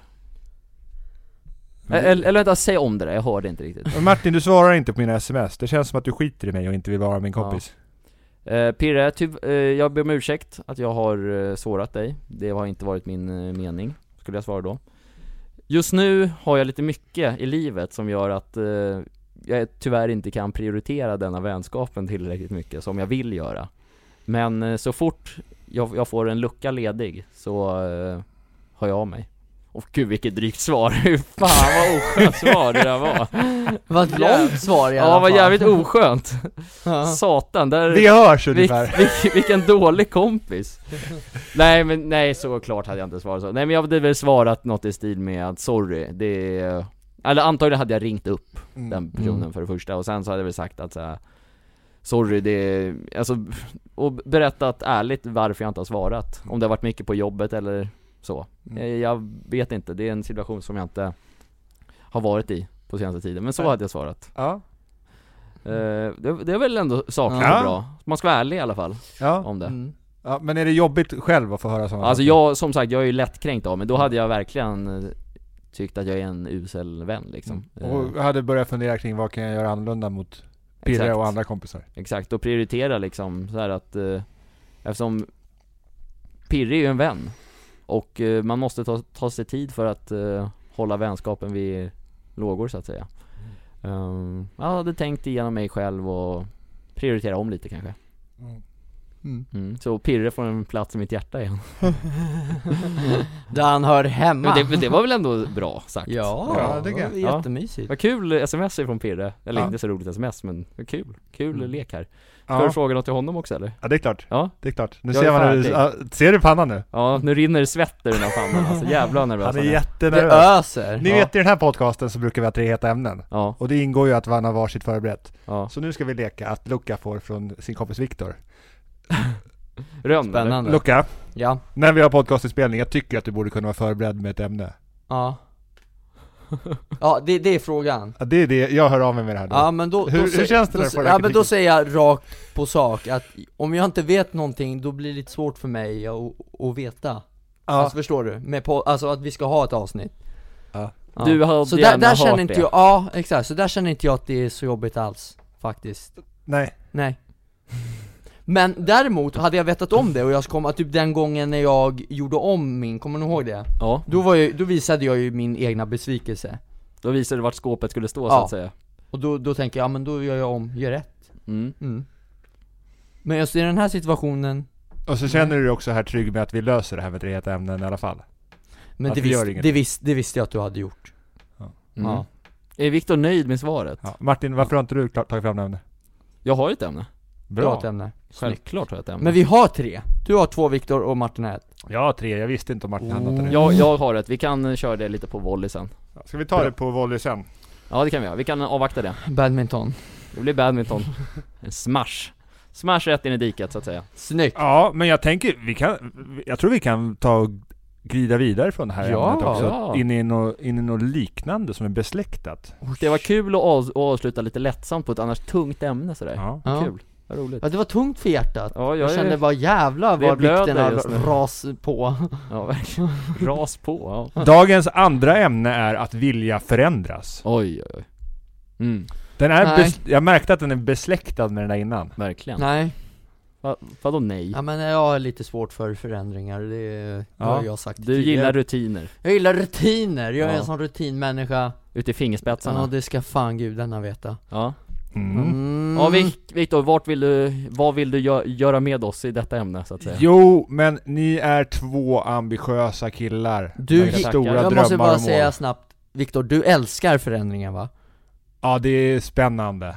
S2: Eller, eller vänta, säg om det där, jag hörde inte riktigt
S3: Men Martin, du svarar inte på mina sms. Det känns som att du skiter i mig och inte vill vara min kompis.
S2: Eh, Pirre, tyv- eh, jag ber om ursäkt att jag har eh, sårat dig. Det har inte varit min eh, mening, skulle jag svara då. Just nu har jag lite mycket i livet som gör att eh, jag tyvärr inte kan prioritera denna vänskapen tillräckligt mycket som jag vill göra. Men eh, så fort jag, jag får en lucka ledig så eh, hör jag av mig. Åh gud vilket drygt svar, Hur fan vad oskönt svar det där var!
S1: Vad ett långt svar i alla
S2: Ja vad
S1: fall.
S2: jävligt oskönt!
S1: Ja.
S2: Satan, där...
S3: Vi hörs
S2: Vil,
S3: ungefär.
S2: vil, vilken dålig kompis Nej men nej såklart hade jag inte svarat så, nej men jag hade väl svarat något i stil med att sorry, det är Eller antagligen hade jag ringt upp den personen
S1: Mm.
S2: för det första och sen så hade jag väl sagt att så här, Sorry det är, alltså, och berättat ärligt varför jag inte har svarat Om det har varit mycket på jobbet eller så
S3: Mm.
S2: jag, jag vet inte, det är en situation som jag inte har varit i på senaste tiden, men så
S3: Nej.
S2: hade jag svarat
S3: Ja.
S2: Eh, det, det är väl ändå sakligt
S3: Ja.
S2: och bra, man ska vara ärlig i alla fall
S3: Ja.
S2: om det
S1: Mm.
S3: ja. Men är det jobbigt själv att få höra sådana
S2: Alltså
S3: saker?
S2: jag, som sagt, jag är ju lättkränkt av men då hade jag verkligen eh, tyckt att jag är en usel vän liksom Eh,
S3: Mm. Och hade börjat fundera kring vad kan jag göra annorlunda mot Pirre
S2: exakt,
S3: och andra kompisar?
S2: Exakt, och prioritera liksom så här att eh, Eftersom Pirre är ju en vän Och eh, man måste ta, ta sig tid för att eh, hålla vänskapen vid lågor så att säga
S3: Mm.
S2: Ehm, um, Jag hade tänkt igenom mig själv och prioritera om lite kanske
S1: Mm.
S2: Mm. Så Pirre får en plats i mitt hjärta igen.
S1: Där han hör hemma
S2: Men det, men det var väl ändå bra sagt?
S1: Ja,
S3: Ja,
S1: det
S3: det
S1: var
S3: kan-
S1: jättemysigt
S2: Vad kul sms från Pirre, eller
S3: Ja.
S2: inte så roligt sms men vad kul, kul
S3: Mm.
S2: lek här. Ska du
S3: Ja.
S2: fråga något till honom också eller?
S3: ja, det är klart.
S2: Ja,
S3: Det är klart. Nu
S2: Jag
S3: ser
S2: är
S3: man hur du, ja, ser du pannan nu?
S2: ja nu rinner det svett ur den här pannan alltså, jävlar vad nervös
S3: Han är
S1: Det
S3: jättenervös.
S1: öser
S3: Ni
S2: Ja.
S3: vet i den här podcasten så brukar vi ha tre heta ämnen.
S2: Ja,
S3: Och det ingår ju att man har varsitt förberett.
S2: ja.
S3: Så nu ska vi leka att Luca får från sin kompis Viktor.
S2: Rönn eller?
S1: Spännande
S3: Luca,
S1: Ja,
S3: när vi har podcastinspelning, jag tycker att du borde kunna vara förberedd med ett ämne.
S1: ja Ja, det, det är frågan
S3: Ja, det är det, jag hör av mig med det här då.
S1: Ja men då,
S3: Hur-
S1: då
S3: hur
S1: sä-
S3: känns det
S1: då,
S3: där
S1: sä-
S3: på den här
S1: Ja men då
S3: kritiken?
S1: säger jag rakt på sak att om jag inte vet någonting då blir det lite svårt för mig att, att veta
S3: Ja.
S1: Alltså förstår du? Med på, alltså att vi ska ha ett avsnitt
S3: Ja.
S2: Du hade
S1: Så där,
S2: gärna
S1: där
S2: hört
S1: känner inte
S2: det.
S1: jag, ja exakt, så där känner inte jag att det är så jobbigt alls faktiskt
S3: Nej.
S1: Nej Men däremot, hade jag vetat om det och jag kom att typ den gången när jag gjorde om min, kommer ni ihåg det?
S2: Ja,
S1: Då, var jag, då visade jag ju min egna besvikelse
S2: då visade du vart skåpet skulle stå så
S1: Ja.
S2: att säga
S1: Och då, då tänker jag, ja men då gör jag om, gör rätt
S2: mm.
S1: mm. Men just i den här situationen,
S3: Och så känner du dig också här trygg med att vi löser det här med tre heta ämnen i alla fall.
S1: men
S3: Att
S1: det,
S3: vi
S1: visst,
S3: gör inget.
S1: det, visst, det visste jag att du hade gjort
S2: Mm.
S1: Ja.
S2: Är Viktor nöjd med svaret?
S3: Ja. Martin, varför har inte du klart- tagit fram ämne?
S2: Jag har ju ett ämne,
S1: Bra ämne
S2: självklart har jag ett ämne
S1: Men vi har tre, du har två Viktor och Martin har ett
S3: Ja, tre. Jag visste inte om Martin hade något nu.
S2: Mm. jag, jag har ett, vi kan eh, köra det lite på volley sen
S3: Ska vi ta det på volley sen?
S2: Ja det kan vi göra, vi kan avvakta det
S1: Badminton
S2: Det blir badminton, en smash Smash rätt in i diket så att säga
S1: Snyggt!
S3: Ja, men jag tänker, vi kan, jag tror vi kan ta och glida vidare från det här
S1: Ja.
S3: ämnet också.
S2: Ja.
S3: In, i något, in i något liknande som är besläktat.
S2: Det var kul att av- att avsluta lite lättsamt på ett annars tungt ämne sådär
S3: Ja.
S1: Ja.
S2: Kul, vad roligt
S1: Ja det var tungt för hjärtat
S2: Ja, jag,
S1: Jag kände
S2: är...
S1: bara jävlar
S2: Det
S1: vad
S2: blöder
S1: vikterna
S2: just nu.
S1: ras på
S2: ja verkligen, ras på, ja.
S3: Dagens andra ämne är att vilja förändras.
S2: Oj oj oj Mm,
S3: Den är
S1: Nej.
S3: bes, jag märkte att den är besläktad med den där innan.
S2: verkligen
S1: Nej,
S2: Va, Vadå nej?
S1: ja, men jag har lite svårt för förändringar, det, är- det
S3: Ja.
S1: har jag sagt
S2: Du
S1: tidigare.
S2: gillar rutiner,
S1: Jag gillar rutiner, jag är
S2: Ja.
S1: en sån rutinmänniska
S2: ut i fingerspetsarna
S1: Ja det ska fan gudarna veta
S2: Ja,
S3: Mm.
S1: Mm.
S2: ja Vik- Viktor, vart vill du, vad vill du gö- göra med oss i detta ämne så att säga?
S3: Jo, men ni är två ambitiösa killar.
S1: Du
S3: med
S2: gick-
S3: stora
S2: Jag
S1: Jag
S3: drömmar
S1: måste bara
S3: och mål.
S1: säga snabbt, Viktor, du älskar förändringar va?
S3: Ja, det är spännande.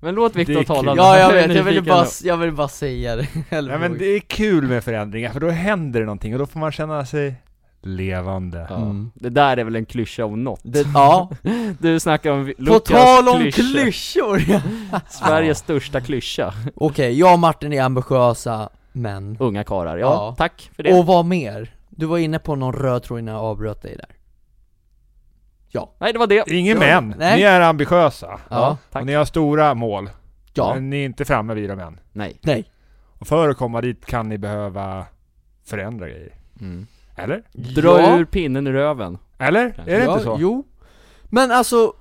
S2: Men låt
S3: Det
S2: Viktor
S3: är
S2: tala
S3: kul.
S2: nu.
S1: Ja jag
S2: är
S1: vet, jag ville
S2: nyfiken
S1: bara,
S2: nu.
S1: jag ville bara säga det Eller
S3: Nej men
S1: hur?
S3: det är kul med förändringar, för då händer det någonting och då får man känna sig levande.
S2: Ja.
S1: Mm.
S2: Det där är väl en klyscha om något?
S1: det, Ja,
S2: Du snackar om
S1: på
S2: Lukas
S1: tal om
S2: klyscha.
S1: klyschor!
S2: Sveriges största klyscha
S1: Okej, jag och Martin är ambitiösa män
S2: Unga karar, ja,
S1: Ja.
S2: tack för det
S1: Och vad mer? Du var inne på någon röd tråd innan jag avbröt dig där
S2: Nej det var det
S3: Ingen
S1: Ja,
S3: men,
S1: nej.
S3: ni är ambitiösa.
S1: Ja,
S2: tack
S3: Och ni har stora mål.
S1: ja,
S3: Men ni är inte framme vid dem än.
S2: Nej
S1: nej
S3: Och för att komma dit kan ni behöva förändra grejer.
S1: Mm.
S3: Eller?
S2: Dra
S1: Ja.
S2: ur pinnen ur röven
S3: Eller? Är det
S1: ja,
S3: inte så?
S1: Jo, men alltså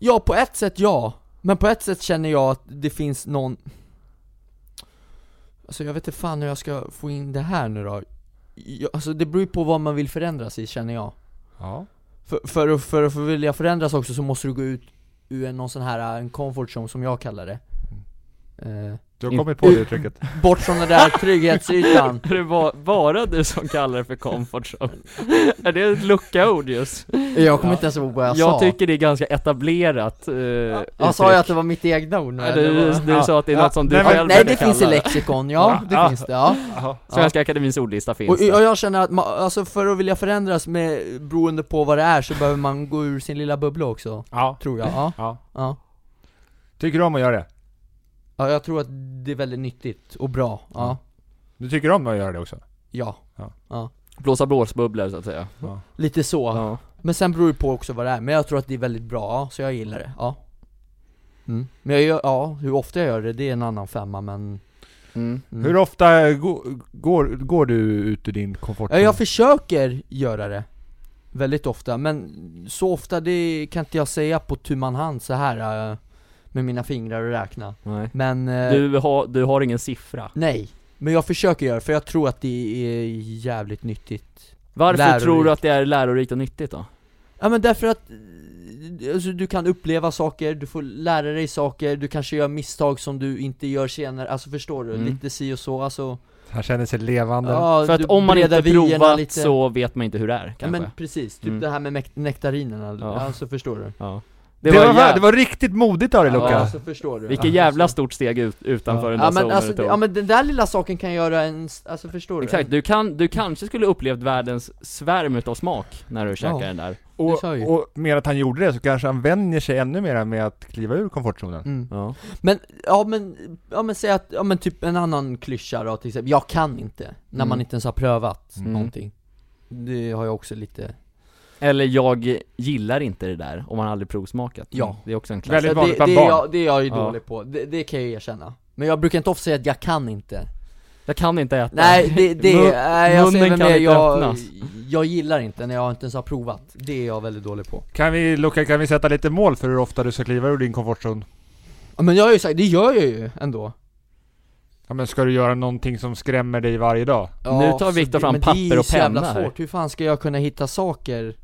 S1: Ja, på ett sätt ja, men på ett sätt känner jag att det finns någon Alltså jag vet inte fan hur jag ska få in det här nu då jag, Alltså det beror ju på vad man vill förändras i känner jag
S3: Ja.
S1: För, för, att- för att få vilja förändras också så måste du gå ut ur en, någon sån här, eh, en comfort zone som jag kallar det eh,
S3: Du har
S1: In-
S3: kommit på det uttrycket.
S1: Bort från den där trygghetsytan
S2: Är det bara, bara du som kallar det för comfort zone? är det ett luckaord just?
S1: Jag kommer inte ens ihåg vad jag,
S2: Jag,
S1: sa
S2: tycker det är ganska etablerat eh,
S1: Ja, sa jag att det var mitt egna ord nu
S2: Nej,
S1: eller
S2: du,
S1: vad?
S2: du sa att det är
S3: Ja.
S2: något som du
S3: Nej, men-
S2: själv
S1: Nej det
S2: brukar
S1: finns i
S2: kalla
S1: lexikon, ja det
S3: Ja.
S1: finns det ja.
S3: Jaha.
S2: Svenska Akademins ordlista
S1: Och,
S2: finns
S1: och
S2: där.
S1: jag känner att man, alltså för att vilja förändras med, beroende på vad det är så behöver man gå ur sin lilla bubbla också
S3: Ja.
S1: Tror jag, ja,
S3: ja.
S1: ja,
S3: Tycker du om att göra det?
S1: ja jag tror att det är väldigt nyttigt och bra, ja,
S3: Du tycker om att göra det
S1: Mm.
S3: också?
S1: ja
S2: Blåsa blåsbubblor så att säga
S1: Lite så,
S2: Ja.
S1: men sen beror det på också vad det är, men jag tror att det är väldigt bra, ja, så jag gillar det, ja mm. Men jag gör, ja, hur ofta jag gör det, det är en annan femma men
S2: Mm.
S1: mm.
S3: Hur ofta gå- går, går du ut ur din
S1: Ja,
S3: komfortzon?
S1: jag försöker göra det Väldigt ofta, men så ofta det kan inte jag säga på tu man hand så här eh, Med mina fingrar och räkna
S2: Nej.
S1: Men, eh,
S2: Du, har, du har ingen siffra.
S1: nej Men jag försöker göra det, för jag tror att det är jävligt nyttigt
S2: Varför
S1: Lärorikt.
S2: tror du att det är lärorikt och nyttigt då?
S1: Ja men därför att eh, alltså, du kan uppleva saker, du får lära dig saker, du kanske gör misstag som du inte gör senare, alltså förstår du?
S2: Mm.
S1: Lite si och så, alltså
S5: Han känner sig levande.
S1: ja,
S2: För att
S1: du
S2: om man
S1: breddar
S2: inte
S1: vyerna
S2: provat
S1: lite.
S2: så vet man inte hur det är
S1: Ja,
S2: kanske
S1: men precis, typ
S2: Mm.
S1: det här med mek- nektarinerna,
S2: Ja.
S1: alltså förstår du?
S2: ja.
S5: Det, var,
S2: jäv-
S5: det var riktigt modigt av dig
S2: Ja,
S5: Luca.
S1: Ja, alltså förstår du?
S2: Vilket
S1: Ja,
S2: jävla
S1: alltså.
S2: stort steg ut, utanför den där
S1: ja, men,
S2: zonen
S1: alltså,
S2: du tog.
S1: ja men den där lilla saken kan göra en, alltså förstår du?
S2: Exakt, du, kan, du kanske skulle upplevt världens svärm utav smak när du käkar den där
S1: Det sa jag ju.
S5: och, och med att han gjorde det så kanske han vänjer sig ännu mer med att kliva ur komfortzonen.
S1: Mm.
S2: Ja,
S1: Men, ja men, ja men säg att, ja men typ en annan klyscha då till exempel, jag kan inte, när
S2: Mm.
S1: man inte ens har prövat
S2: Mm.
S1: någonting Det har jag också lite,
S2: Eller jag gillar inte det där, om man aldrig provsmakat
S1: Ja.
S2: Det är också en
S5: Väldigt
S2: klassiker
S1: Så
S5: vanligt
S1: det,
S5: bland
S1: det,
S5: barn.
S1: är jag, det är jag ju
S2: Ja.
S1: dålig på, det, det kan jag ju erkänna Men jag brukar inte ofta säga att jag kan inte
S2: Jag kan inte äta
S1: Nej det, det,
S2: Mun-
S1: nej jag
S2: munnen
S1: säger väl
S2: kan
S1: mer,
S2: inte
S1: jag,
S2: öppnas.
S1: jag gillar inte när jag inte ens har provat Det är jag väldigt dålig på
S5: Kan vi, Luca, kan vi sätta lite mål för hur ofta du ska kliva ur din komfortzon?
S1: Ja, Men jag har ju sagt, det gör jag ju ändå
S5: Ja men ska du göra någonting som skrämmer dig varje dag?
S1: Ja,
S2: Nu tar Viktor
S1: så det-
S2: fram
S1: men
S2: papper och
S1: Det är ju så jävla
S2: penna här.
S1: svårt, hur fan ska jag kunna hitta saker?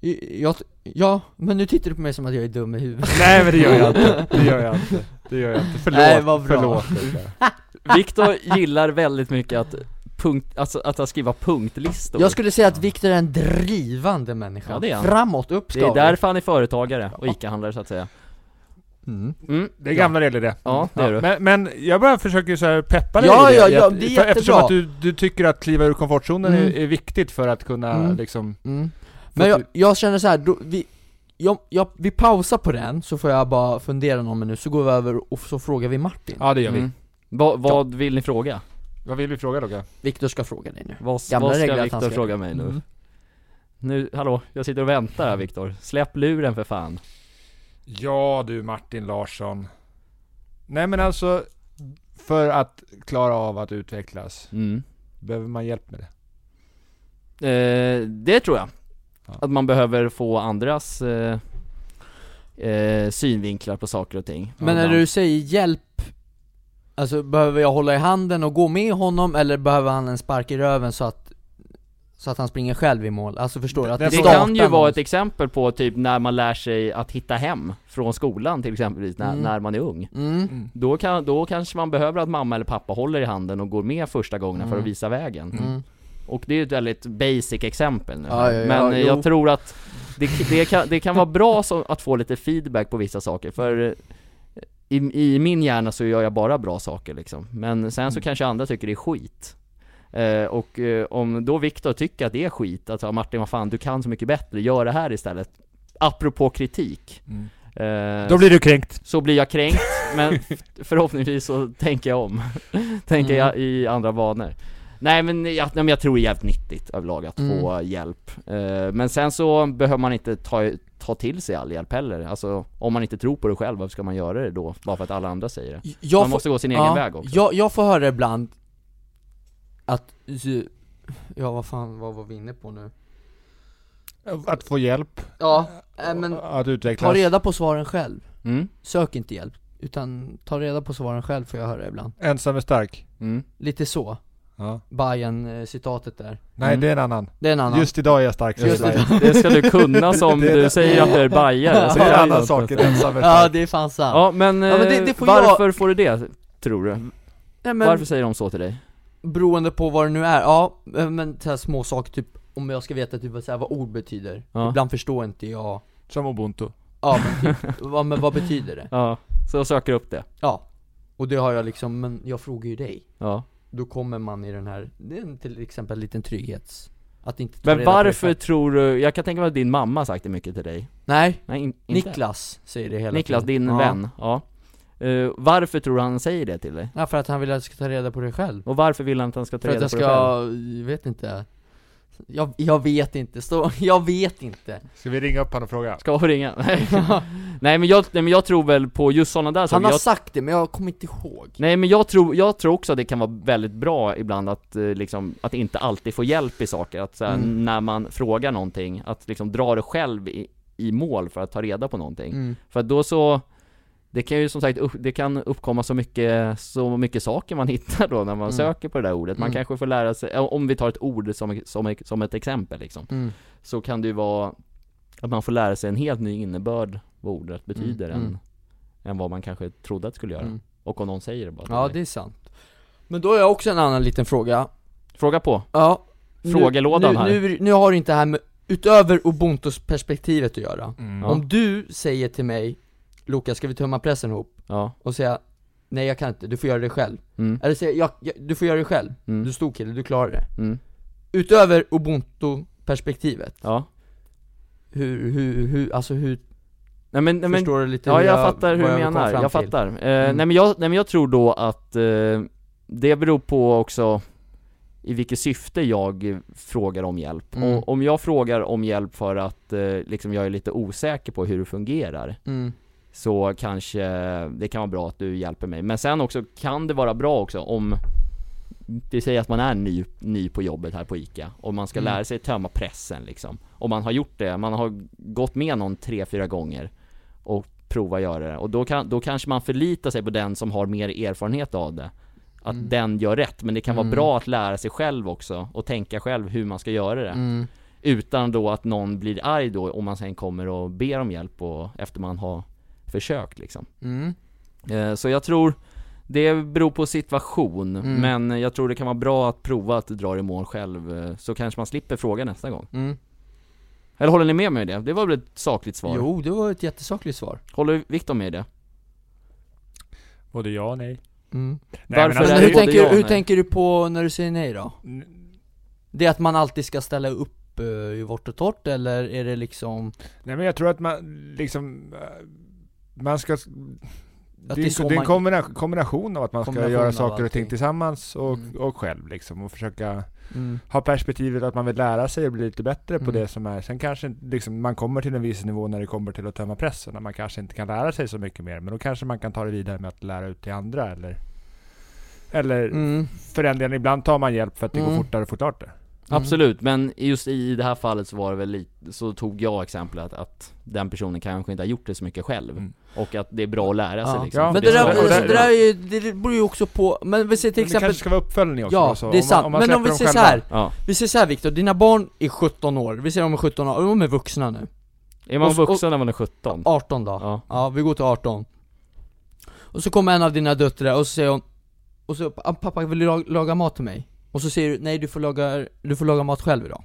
S1: I- Jag, ja, men nu tittar du på mig som att jag är dum i huvudet
S5: Nej men det gör jag inte, det gör jag inte, det gör jag inte. Förlåt,
S1: Nej, vad bra.
S5: förlåt Luca.
S2: Viktor gillar väldigt mycket att, punkt, alltså, att skriva punktlistor
S1: Jag skulle säga att Viktor är en drivande människa,
S2: Ja, det är han.
S1: framåt, upp
S2: Det är
S1: ska vi.
S2: därför han är företagare och ICA-handlare så att säga
S1: Mm.
S2: mm.
S5: Det är gamla regler det.
S2: Ja, det är du
S5: Men, men jag bara försöker ju så här peppa dig
S1: Ja,
S5: i
S1: ja, ja,
S5: Jag-
S1: det är
S5: för- Eftersom
S1: jättebra.
S5: att du, du tycker att kliva ur komfortzonen är,
S1: Mm.
S5: är viktigt för att kunna
S1: Mm.
S5: liksom...
S1: Mm.
S5: att
S1: Men jag,
S5: du-
S1: jag känner så här, då, vi, jag, jag, vi pausar på den, så får jag bara fundera någon minut, så går vi över och så frågar vi Martin
S5: Ja det gör vi.
S2: Mm. Va, Vad vill ni fråga?
S5: Vad vill vi fråga Luca?
S1: Viktor ska fråga dig nu
S2: Vad,
S1: Gamla
S2: vad
S1: regler att
S2: ska
S1: han
S2: Viktor
S1: ska-
S2: fråga mig nu?
S1: Mm.
S2: Nu, hallå, jag sitter och väntar här Viktor. Släpp luren för fan.
S5: Ja du Martin Larsson. Nej men alltså, för att klara av att utvecklas,
S2: Mm.
S5: behöver man hjälp med det?
S2: Eh, det tror jag.
S5: Ja.
S2: Att man behöver få andras eh, eh, synvinklar på saker och ting.
S1: Men när
S2: Ibland.
S1: du säger hjälp, alltså behöver jag hålla i handen och gå med honom eller behöver han en spark i röven så att, så att han springer själv i mål? Alltså förstår du? Att
S5: Det
S2: det
S1: startar
S2: kan ju vara ett
S1: någonstans.
S2: exempel på typ när man lär sig att hitta hem från skolan till exempelvis när,
S1: Mm.
S2: när man är ung.
S1: Mm.
S2: Då, kan, då kanske man behöver att mamma eller pappa håller i handen och går med första gången för
S1: Mm.
S2: att visa vägen.
S1: Mm.
S2: Och det är ju ett väldigt basic exempel nu.
S1: Ja, ja, ja,
S2: Men eh,
S1: jo.
S2: jag tror att det, det, kan, det kan vara bra så, att få lite feedback på vissa saker, för eh, i, i min hjärna så gör jag bara bra saker liksom. Men sen så
S1: Mm.
S2: kanske andra tycker det är skit. Eh, och eh, om då Viktor tycker att det är skit, att ja, Martin vad fan du kan så mycket bättre, gör det här istället. Apropå kritik.
S5: Mm.
S2: Eh,
S5: Då blir du kränkt.
S2: så blir jag kränkt, men f- förhoppningsvis så tänker jag om. tänker
S1: Mm.
S2: jag i andra banor. Nej men, jag, nej men jag tror det är jävligt nyttigt överlag att
S1: Mm.
S2: få hjälp. Eh, men sen så behöver man inte ta, ta till sig all hjälp heller. Alltså om man inte tror på det själv, varför ska man göra det då? Bara för att alla andra säger det.
S1: Jag
S2: man
S1: får-
S2: måste gå sin
S1: ja,
S2: egen väg också.
S1: Jag, jag får höra ibland att, ja vad fan, vad var vi inne på nu?
S5: Att få hjälp,
S1: Ja, äh, men
S5: att
S1: ta
S5: utvecklas.
S1: reda på svaren själv,
S2: Mm,
S1: sök inte hjälp utan ta reda på svaren själv får jag höra ibland
S5: Ensam är stark.
S2: mm.
S1: Lite så,
S5: Ja.
S1: Bayern eh, citatet där
S5: Nej
S2: Mm.
S5: det är en annan.
S1: Det är en annan
S5: Just idag är jag stark.
S1: Just
S5: säger jag.
S2: Det ska du kunna som
S5: Det-
S2: du säger att du är bajare.
S5: Det
S2: så
S5: är en
S2: kan
S5: annan
S2: du-
S5: sak. Ensam är
S1: Ja
S5: stark.
S1: det är fan sant
S2: Ja men,
S1: Ja, men det-
S2: eh,
S1: det får jag-
S2: varför får du det, tror du?
S1: Nej, men,
S2: Varför säger de så till dig?
S1: Beroende på vad det nu är, ja eh, men så här små saker typ Om jag ska veta typ vad, så här, vad ord betyder
S2: Ja.
S1: Ibland förstår inte jag
S5: Som ubuntu.
S1: Ja men typ, vad, men vad betyder det?
S2: Ja, så jag söker upp det.
S1: Ja Och det har jag liksom, men jag frågar ju dig
S2: Ja.
S1: Då kommer man i den här, det är en, till exempel en liten trygghets Att inte ta
S2: Men
S1: reda på det
S2: varför
S1: själv.
S2: tror du, jag kan tänka mig att din mamma har sagt det mycket till dig?
S1: Nej,
S2: Nej, in, inte.
S1: Niklas säger det hela
S2: Niklas,
S1: tiden
S2: din
S1: ja.
S2: vän, ja. Eh, varför tror du han säger det till dig?
S1: Ja för att han vill att jag ska ta reda på det själv
S2: Och varför vill han att han ska ta
S1: För att
S2: reda
S1: jag
S2: på det själv?
S1: ska, jag vet inte jag, jag vet inte, så, jag vet inte
S2: Alltså,
S5: Ska vi ringa upp honom och fråga?
S2: Ska vi ringa? Nej. nej, men jag, nej men jag tror väl på just sådana där
S1: Han
S2: saker.
S1: har
S2: Jag,
S1: sagt det men jag kommer inte ihåg
S2: nej men jag tror, jag tror också att det kan vara väldigt bra ibland att eh, liksom, att inte alltid få hjälp i saker. Att såhär,
S1: Mm.
S2: när man frågar någonting, att liksom dra det själv i, i mål för att ta reda på någonting.
S1: Mm.
S2: För att då så Det kan ju som sagt upp, det kan uppkomma så mycket, så mycket saker man hittar då när man
S1: Mm.
S2: söker på det där ordet Man
S1: Mm.
S2: kanske får lära sig, om vi tar ett ord som, som, som ett exempel liksom
S1: Mm.
S2: Så kan det ju vara Att man får lära sig en helt ny innebörd vad ordet betyder
S1: Mm,
S2: än,
S1: mm.
S2: än vad man kanske trodde att det skulle göra.
S1: Mm.
S2: Och om någon säger det bara till
S1: Ja
S2: dig.
S1: det är sant Men då har jag också en annan liten fråga
S2: Fråga på!
S1: Ja
S2: Frågelådan
S1: nu,
S2: här.
S1: nu, nu, nu har det inte det här med, utöver ubuntus perspektivet att göra
S3: Mm.
S2: Ja.
S1: Om du säger till mig Lukas, ska vi tömma pressen ihop?
S2: Ja,
S1: Och säga Nej jag kan inte, du får göra det själv
S2: mm,
S1: Eller säga, jag, jag, du får göra det själv,
S2: Mm.
S1: du är stor kille, du klarar det
S2: mm,
S1: Utöver ubuntu perspektivet
S2: ja
S1: hur, hur, hur, alltså hur,
S2: Nej men, nej, men
S1: förstår du lite
S2: Ja,
S1: hur
S2: jag, fattar hur
S1: vad
S2: du
S1: kom
S2: menar,
S1: fram
S2: jag
S1: till?
S2: fattar. Eh,
S1: Mm.
S2: nej, men jag, nej men jag tror då att eh, det beror på också i vilket syfte jag eh, frågar om hjälp.
S1: Mm.
S2: Och, om jag frågar om hjälp för att eh, liksom jag är lite osäker på hur det fungerar,
S1: Mm,
S2: så kanske det kan vara bra att du hjälper mig. Men sen också kan det vara bra också om vi säger att man är ny, ny på jobbet här på ICA och man ska
S1: Mm.
S2: lära sig tömma pressen liksom. Och man har gjort det, man har gått med någon tre, fyra gånger och prova göra det. Och då, kan, då kanske man förlitar sig på den som har mer erfarenhet av det. Att
S1: Mm.
S2: den gör rätt, men det kan
S1: Mm.
S2: vara bra att lära sig själv också och tänka själv hur man ska göra det.
S1: mm,
S2: Utan då att någon blir arg då om man sen kommer och ber om hjälp och efter man har försökt liksom.
S1: mm,
S2: Eh, Så jag tror det beror på situation,
S1: Mm.
S2: men jag tror det kan vara bra att prova att dra det i mål själv, eh, så kanske man slipper fråga nästa gång.
S1: mm.
S2: Eller håller ni med mig i det? Det var väl ett sakligt svar?
S1: Jo, det var ett jättesakligt svar
S2: Håller Viktor med i det?
S6: Både ja och nej.
S1: mm.
S6: nej
S2: Varför
S6: men
S2: är
S1: Men
S2: det
S6: alltså,
S1: hur,
S2: både ja
S1: tänker,
S2: och
S1: hur
S2: nej?
S1: tänker du på när du säger nej då?
S6: n-
S1: Det är att man alltid ska ställa upp eh, i vårt och torrt eller är det liksom
S3: Nej men jag tror att man liksom, eh, man ska
S1: att
S3: det, är en- det är en kombina, kombination av att man ska
S1: Kombination av
S3: göra saker och ting
S1: allting.
S3: tillsammans och,
S1: Mm.
S3: och själv liksom och försöka
S1: mm,
S3: ha perspektivet att man vill lära sig och bli lite bättre på
S1: Mm.
S3: det som är. Sen kanske inte- liksom, man kommer till en viss nivå när det kommer till att tömma pressen, när man kanske inte kan lära sig så mycket mer, men då kanske man kan ta det vidare med att lära ut till andra eller eller
S1: mm,
S3: för den delen, ibland tar man hjälp för att det
S1: Mm.
S3: går fortare och fortare.
S2: Absolut, men just i det här fallet så var det väl lite, så tog jag exemplet att, att den personen kanske inte har gjort det så mycket själv,
S3: Mm.
S2: och att det är bra att lära sig
S1: Ja.
S2: liksom.
S3: Ja,
S1: Men
S2: För
S1: det
S2: är
S1: där,
S2: så-
S3: och
S1: alltså,
S3: där-
S1: det där är ju, det beror ju också på, men vi säger till
S3: Men det
S1: exempel
S3: kanske ska vara uppföljning också.
S1: Ja,
S3: då, så
S1: det är
S3: om
S1: sant,
S3: man, om man
S1: men om
S3: släpper
S1: vi
S3: dem
S1: säger så
S3: själva.
S1: här.
S2: ja.
S1: vi säger så här Viktor, dina barn är 17 år, vi säger de är 17 år, och de är vuxna nu
S2: Är man
S1: Och så- och-
S2: vuxen när man är 17?
S1: 18 då,
S2: Ja.
S1: Ja, vi går till 18 Och så kommer en av dina döttrar och så säger hon Och så, "Ah, pappa vill du la- laga mat till mig? Och så säger du, nej du får laga, du får laga mat själv idag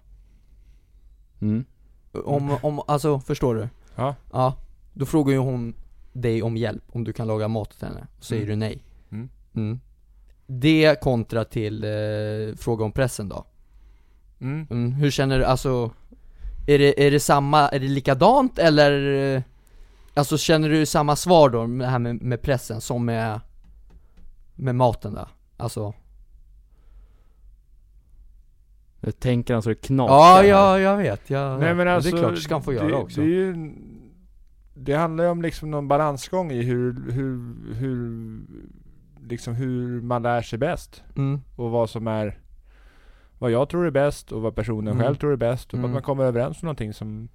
S2: Mm.
S1: Om, om, alltså förstår du?
S3: Ja.
S1: Ja, då frågar ju hon dig om hjälp, om du kan laga mat till henne, och säger
S3: Mm.
S1: du nej
S3: Mm.
S1: Mm. Det kontra till eh, fråga om pressen då
S3: Mm.
S1: mm, Hur känner du, alltså är det, är det samma, är det likadant eller? eh, Alltså känner du samma svar då, med det här med, med pressen som med, med maten där? Alltså,
S2: Nu tänker han så det knakar
S1: ja,
S2: här.
S1: ja jag vet, jag,
S3: Nej, men alltså,
S1: det är klart det ska han få göra
S3: det,
S1: också
S3: Det, är ju, en- det handlar ju om liksom någon balansgång i hur, hur, hur, liksom hur man lär sig bäst.
S1: mm,
S3: Och vad som är, vad jag tror är bäst och vad personen
S1: Mm.
S3: själv tror är bäst. Och
S1: Mm.
S3: att man kommer överens om någonting som,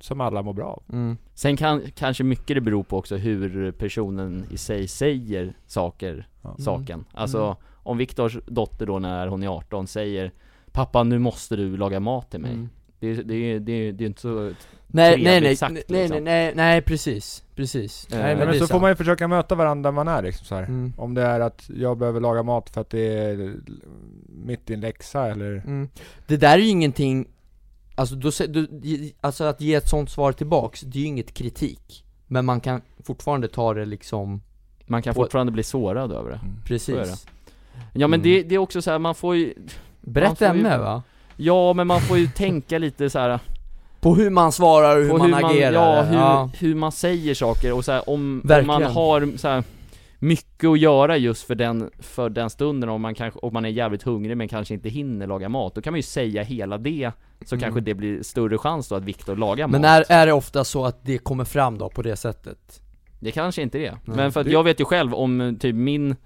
S3: som alla mår bra av.
S1: mm,
S2: Sen kan, kanske mycket det beror på också hur personen i sig säger saker,
S3: Ja.
S2: saken Alltså,
S1: Mm.
S2: om Viktors dotter då när hon är 18 säger Pappa nu måste du laga mat till mig
S1: mm.
S2: Det, det, det, det, det är inte så...
S1: Nej, nej,
S2: Trevligt
S1: nej,
S2: sagt,
S1: nej, nej, nej,
S2: liksom.
S1: nej, nej, precis, precis
S2: Eh,
S1: Nej
S3: Nej,
S1: men,
S3: men
S1: det är
S3: så får
S1: sant.
S3: man ju försöka möta varandra där man är liksom så här.
S1: mm,
S3: Om det är att jag behöver laga mat för att det är eh, mitt i en läxa eller
S1: mm. Det där är ju ingenting, alltså, då, sä- du, alltså att ge ett sånt svar tillbaks, det är ju inget kritik Men man kan fortfarande ta det liksom,
S2: Man kan
S1: På-
S2: fortfarande bli sårad över det
S3: Mm.
S2: är det.
S1: precis
S2: Ja men
S1: Mm.
S2: det, det är också så här, man får ju Man
S1: Brett
S2: får ju-
S1: ämne va?
S2: Ja men man får ju tänka lite så här
S1: På hur man svarar och hur,
S2: på
S1: man, agerar
S2: ja, hur, hur man säger saker och så här, om, om man
S1: Verkligen.
S2: har så här, mycket att göra just för den, för den stunden om man kanske, om man är jävligt hungrig men kanske inte hinner laga mat, då kan man ju säga hela det så
S1: Mm.
S2: kanske det blir större chans då att Viktor lagar
S1: Men
S2: mat.
S1: är, är det ofta så att det kommer fram då på det sättet?
S2: Det kanske inte är det.
S1: Nej.
S2: Men för att
S3: Det-
S2: jag vet ju själv om eh, typ min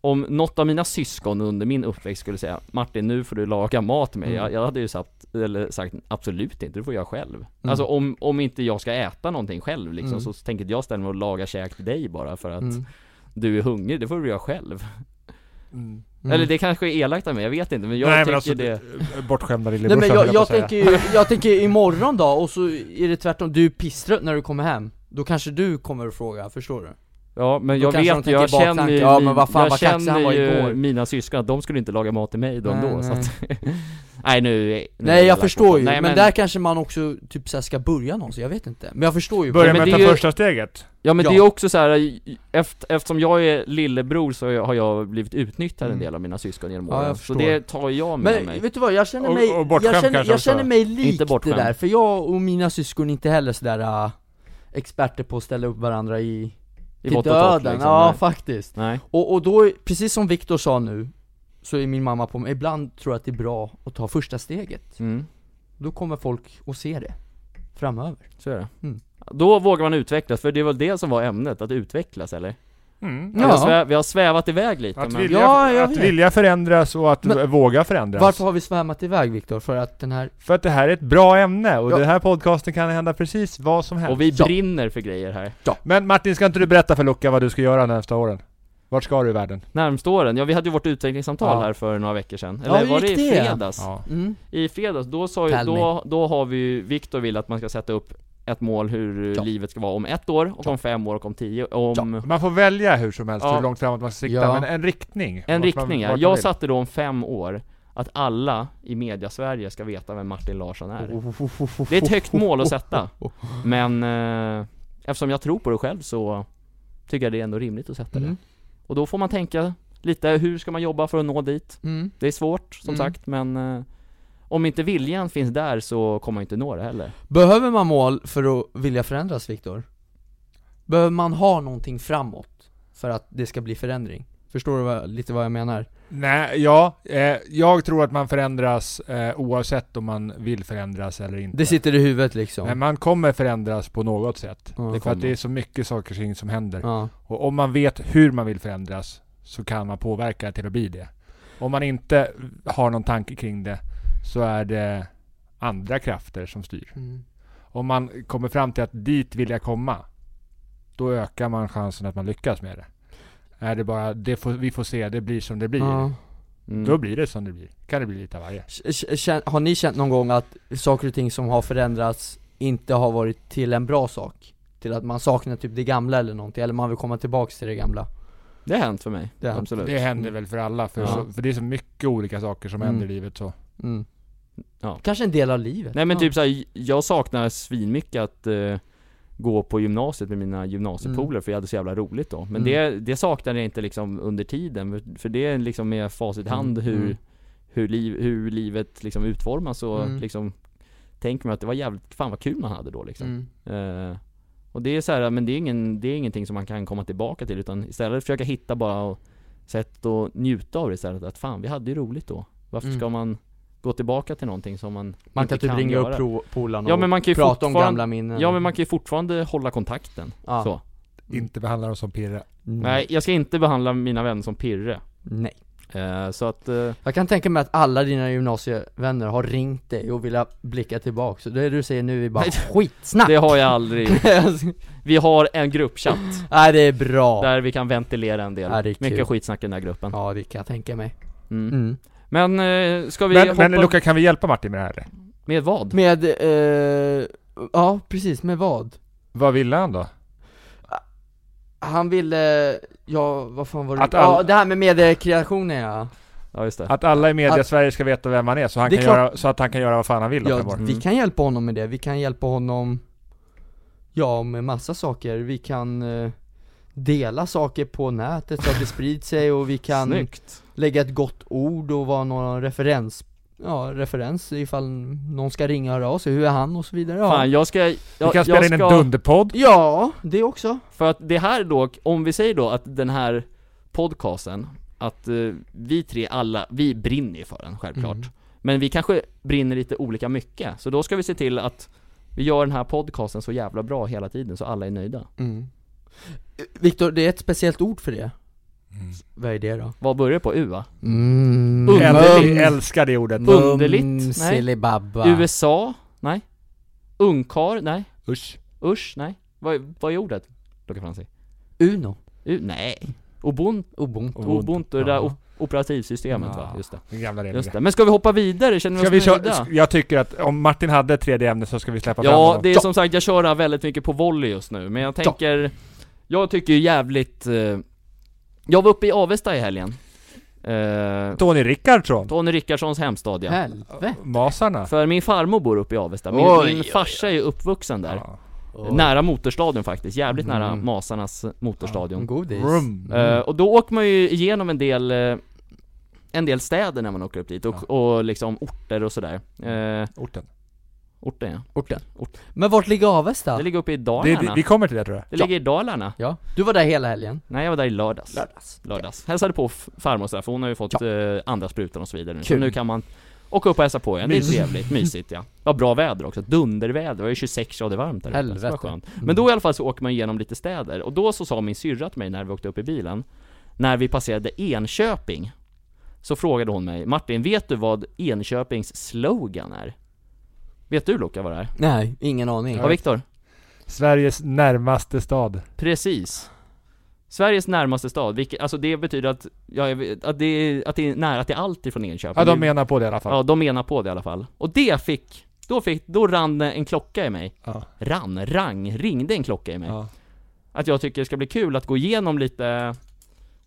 S2: om något av mina syskon under min uppväxt skulle säga Martin nu får du laga mat till mig.
S1: Mm.
S2: Jag, jag hade ju sagt, eller sagt absolut inte, det får jag själv.
S1: Mm.
S2: Alltså om, om inte jag ska äta någonting själv liksom,
S1: Mm.
S2: så tänker jag ställa mig och laga käk till dig bara för att
S1: Mm.
S2: du är hungrig, det får du göra själv.
S1: Mm.
S2: Eller det kanske är elakt av mig, jag vet inte men jag
S3: Nej,
S2: tycker
S3: men alltså,
S2: det
S3: bortskämda
S1: Nej
S3: lillebrorsan
S1: men
S3: höll
S1: jag,
S3: på
S1: jag
S3: att säga.
S1: tänker ju, jag tänker imorgon då, och så är det tvärtom, du är pisstrött när du kommer hem Då kanske du kommer och frågar, förstår du?
S2: Ja men
S1: Då
S2: jag
S1: kanske de
S2: vet,
S1: tänker
S2: jag
S1: baktanke,
S2: känner ju,
S1: ja,
S2: min-
S1: men vad fan,
S2: jag
S1: vad kaxig han
S2: känner
S1: var igår.
S2: ju mina syskon att de skulle inte laga mat till mig då
S1: Nej,
S2: ändå så
S1: nej.
S2: att Nej nu, nu är
S1: Nej jag
S2: elak mot
S1: förstår ju,
S2: dem.
S1: men, där kanske man också typ så här ska börja någonstans, jag vet inte Men jag förstår ju
S2: men
S3: Börja med att
S2: det
S3: ta
S2: är ju-
S3: första steget.
S2: Ja men
S1: Ja.
S2: det är också så här i- eft, eftersom jag är lillebror så har jag- har jag blivit utnyttjad en
S1: Mm.
S2: del av mina syskon genom
S1: Ja, jag
S2: åren, så
S1: förstår.
S2: det tar jag med
S1: Men
S2: mig
S1: vet du vad, jag känner
S3: Och-
S1: mig,
S3: och bortskämd
S1: jag känner,
S3: kanske
S1: jag
S3: också.
S1: känner mig lik
S2: Inte
S1: det
S2: bortskämd.
S1: där, för jag och mina syskon är inte heller sådär äh, experter på att ställa upp varandra i,
S2: I
S1: till
S2: vått och torrt,
S1: döden,
S2: liksom.
S1: ja
S2: Nej.
S1: faktiskt
S2: Nej,
S1: Och, och då, precis som Viktor sa nu, så är min mamma på mig, ibland tror jag att det är bra att ta första steget.
S2: mm,
S1: Då kommer folk att se det framöver.
S2: så är det
S1: Mm.
S2: Då vågar man utvecklas, för det var det som var ämnet, att utvecklas eller?
S3: Mm.
S2: Vi, har svä, vi har svävat iväg lite
S3: Att,
S2: men...
S3: vilja,
S1: Ja, jag
S3: att
S1: vet.
S3: vilja förändras och att
S1: Men-
S3: våga förändras.
S1: Varför har vi svämmat iväg Viktor? För att den här...
S3: För att det här är ett bra ämne och
S1: Ja.
S3: den här podcasten kan hända precis vad som helst.
S2: Och vi
S1: Ja.
S2: brinner för grejer här
S3: Men Martin, ska inte du berätta för Luca vad du ska göra nästa åren? Vart ska du i världen?
S2: Närmsta åren, ja vi hade ju vårt utvecklingssamtal
S1: Ja.
S2: här för några veckor sedan
S1: Ja,
S2: Eller
S1: hur
S2: var det
S1: gick
S2: i
S1: det?
S2: fredags?
S3: Ja.
S1: Mm.
S2: I fredags, då sa ju,
S1: Tell
S2: då, då har vi ju, Viktor vill att man ska sätta upp ett mål hur eh,
S1: Ja.
S2: livet ska vara om ett år, och om fem år och om tio, om
S3: Man får välja hur som helst
S2: Mm. Ja.
S3: hur långt framåt man ska sikta,
S1: Ja.
S3: men en riktning.
S2: en
S3: vart man-
S2: riktning
S3: vart
S2: ja.
S3: man
S2: Jag
S3: vill.
S2: satte då om fem år att alla i media-Sverige ska veta vem Martin Larsson
S1: Oh.
S2: är. Det är ett högt mål att sätta, men eh, eftersom jag tror på det själv så tycker jag det är ändå rimligt att sätta det.
S1: Mm.
S2: Och då får man tänka lite, hur ska man jobba för att nå dit?
S1: Mm.
S2: Det är svårt, som
S1: Mm.
S2: sagt, men eh, om inte viljan finns där så kommer man inte nå det heller.
S1: Behöver man mål för att vilja förändras Viktor? Behöver man ha någonting framåt? För att det ska bli förändring? Förstår du vad, lite vad jag menar?
S3: Nej, ja. Eh, jag tror att man förändras eh, oavsett om man vill förändras eller inte.
S1: Det sitter i huvudet liksom?
S3: Men man kommer förändras på något sätt.
S1: Ja.
S2: Det
S3: För att det
S2: kommer.
S3: är så mycket saker och ting som händer.
S1: ja.
S3: Och om man vet hur man vill förändras så kan man påverka till att bli det. Om man inte har någon tanke kring det så är det andra krafter som styr.
S1: Mm.
S3: Om man kommer fram till att dit vill jag komma, då ökar man chansen att man lyckas med det. Är det bara, det får, vi får se, det blir som det blir.
S1: Ja.
S2: Mm.
S3: Då blir det som det blir. Kan det bli lite av varje.
S1: K- k- kän- Har ni känt någon gång att saker och ting som har förändrats inte har varit till en bra sak? Till att man saknar typ det gamla eller någonting, eller man vill komma tillbaks till det gamla?
S2: Det har hänt för mig,
S1: Det har hänt.
S2: absolut
S3: Det händer väl för alla, för,
S2: Ja.
S3: så, för det är så mycket olika saker som
S1: Mm.
S3: händer i livet så.
S1: Mm.
S2: Ja.
S1: Kanske en del av livet?
S2: Nej men
S1: Ja.
S2: typ såhär, jag saknar svinmycket att eh, gå på gymnasiet med mina gymnasiepolare för jag hade så jävla roligt då Men
S1: Mm.
S2: det, det saknade jag inte liksom under tiden, för- för det är liksom med facit i hand
S1: Mm.
S2: hur,
S1: Mm.
S2: hur, liv, hur livet liksom utformas och
S1: Mm.
S2: liksom Tänker man att det var jävligt, fan vad kul man hade då liksom
S1: Mm.
S2: Eh, Och det är så här, men det är, ingen, det är ingenting som man kan komma tillbaka till utan istället försöka hitta bara sätt att njuta av det istället. Att fan, vi hade ju roligt då. Varför
S1: Mm.
S2: ska man gå tillbaka till någonting som man
S1: Man
S2: inte
S1: kan typ ringa upp
S2: göra?
S1: pro- polarna
S2: Ja men man kan ju
S1: och prata om
S2: fortfarande,
S1: gamla Mm. minnen
S2: Ja men man kan ju fortfarande hålla kontakten.
S1: Ja.
S2: Så.
S3: Inte behandla dem som pirre.
S1: Mm.
S2: Nej, jag ska inte behandla mina vänner som pirre.
S1: Nej
S2: Eh, så att, eh,
S1: Jag kan tänka mig att alla dina gymnasievänner har ringt dig och vill vilja tillbaks, så det du säger nu är bara
S2: Nej.
S1: skitsnack!
S2: det har jag aldrig Vi har en gruppchatt
S1: Nej det är bra!
S2: där vi kan ventilera en del.
S1: Ja, det är kul.
S2: Mycket skitsnack i den här gruppen.
S1: Ja det kan jag tänka mig
S2: Mm.
S1: mm.
S2: Men eh, ska vi
S3: Men,
S2: hoppa
S3: men Luca, kan vi hjälpa Martin med det här eller?
S2: med vad?
S1: Med, eh, ja precis, med vad?
S3: Vad ville han då?
S1: Han ville, ja vad fan var det?
S3: Att
S1: Ja
S3: alla-
S1: det här med mediekreationen ja,
S2: Ja just det.
S3: Att alla i media
S1: Att-
S3: Sverige ska veta vem han är, så, han
S1: Det är
S3: kan
S1: klart-
S3: göra, så att han kan göra vad fan han vill
S1: ja
S3: uppenbart.
S2: Mm.
S1: Vi kan hjälpa honom med det, vi kan hjälpa honom Ja med massa saker, vi kan eh, dela saker på nätet så att det sprids sig och vi kan
S2: Snyggt!
S1: lägga ett gott ord och vara någon referens Ja, referens ifall någon ska ringa och höra av sig, hur är han och så vidare ja.
S2: Fan jag ska... Jag,
S3: Vi kan
S2: jag
S3: spela in
S2: ska,
S3: en dunderpodd.
S1: ja, det också
S2: För att det här då, om vi säger då att den här podcasten, att eh, vi tre alla, vi brinner ju för den självklart.
S1: Mm.
S2: Men vi kanske brinner lite olika mycket, så då ska vi se till att vi gör den här podcasten så jävla bra hela tiden så alla är nöjda.
S1: mm. Viktor, det är ett speciellt ord för det Vad är det då?
S2: Vad börjar på U va?
S1: Mm.
S3: Äl- Älskar det ordet.
S2: Underligt? Nej.
S1: Silibabba
S2: USA? Nej. Ungkar? Nej.
S3: Usch.
S2: Usch? Nej. Vad, vad är ordet? Luca Franzi?
S1: Uno
S2: U? Nej. Ubuntu?
S1: Ubuntu
S2: Ubuntu, det där
S3: Ja.
S2: operativsystemet va?
S5: Ja.
S2: Just det.
S5: Den gamla regeln.
S2: Just det. Men ska vi hoppa vidare? Känner
S5: Ska
S2: vi
S5: vi
S2: oss nöjda?
S5: köra, jag tycker att om Martin hade ett tredje ämne så ska vi släppa fram
S2: Ja,
S5: honom.
S2: det är som sagt, jag kör här väldigt mycket på volley just nu, men jag tänker Jag tycker ju jävligt eh, Jag var uppe i Avesta i helgen eh,
S5: Tony Rickardsson.
S2: Tony Rickardssons hemstad ja.
S1: Helvete.
S5: Masarna.
S2: För min farmor bor uppe i Avesta, min,
S1: Oj,
S2: min
S1: oj,
S2: farsa är uppvuxen där
S5: Ja.
S1: Oh.
S2: Nära motorstadion faktiskt, jävligt nära
S5: Mm.
S2: Masarnas motorstadion
S1: Godis. Mm.
S5: Vroom.
S2: Eh, Och då åker man ju igenom en del eh, En del städer när man åker upp dit och, och liksom orter och sådär eh,
S5: Orten.
S2: Orten ja,
S1: Orten.
S2: Ort.
S1: Men vart ligger Avesta?
S2: det ligger uppe i
S5: Det,
S2: Dalarna
S5: det, vi kommer till det tror jag.
S2: Det ligger i Dalarna
S1: Ja, du var där hela helgen.
S2: Nej jag var där i lördags
S1: Lördags.
S2: Lördags Hälsade på f- farmor sådär, för hon har ju fått
S1: Ja.
S2: eh, andra sprutan och så vidare nu Så
S1: Kul.
S2: nu kan man åka upp och hälsa på igen, det är
S1: Mysigt.
S2: trevligt, mysigt ja Ja, bra väder också, dunderväder, det var ju 26 grader varmt där uppe, så det var
S1: Helvete. Mm.
S2: skönt. Men då i alla fall så åker man igenom lite städer, och då så sa min syrra till mig när vi åkte upp i bilen När vi passerade Enköping Så frågade hon mig, Martin vet du vad Enköpings slogan är? Vet du Luca vad det är?
S1: Nej, ingen aning.
S2: Ja Viktor?
S5: Sveriges närmaste stad.
S2: Precis. Sveriges närmaste stad, vilket, alltså det betyder att, ja, jag vet- att, det, är- att det är nära till allt ifrån Enköping.
S5: Ja, de
S2: Det-
S5: menar på det i alla fall.
S2: ja, de menar på det i alla fall. Och det fick, då fick, då rann en klocka i mig.
S5: Ja.
S2: Rann, rang, ringde en klocka i mig.
S5: Ja.
S2: Att jag tycker det ska bli kul att gå igenom lite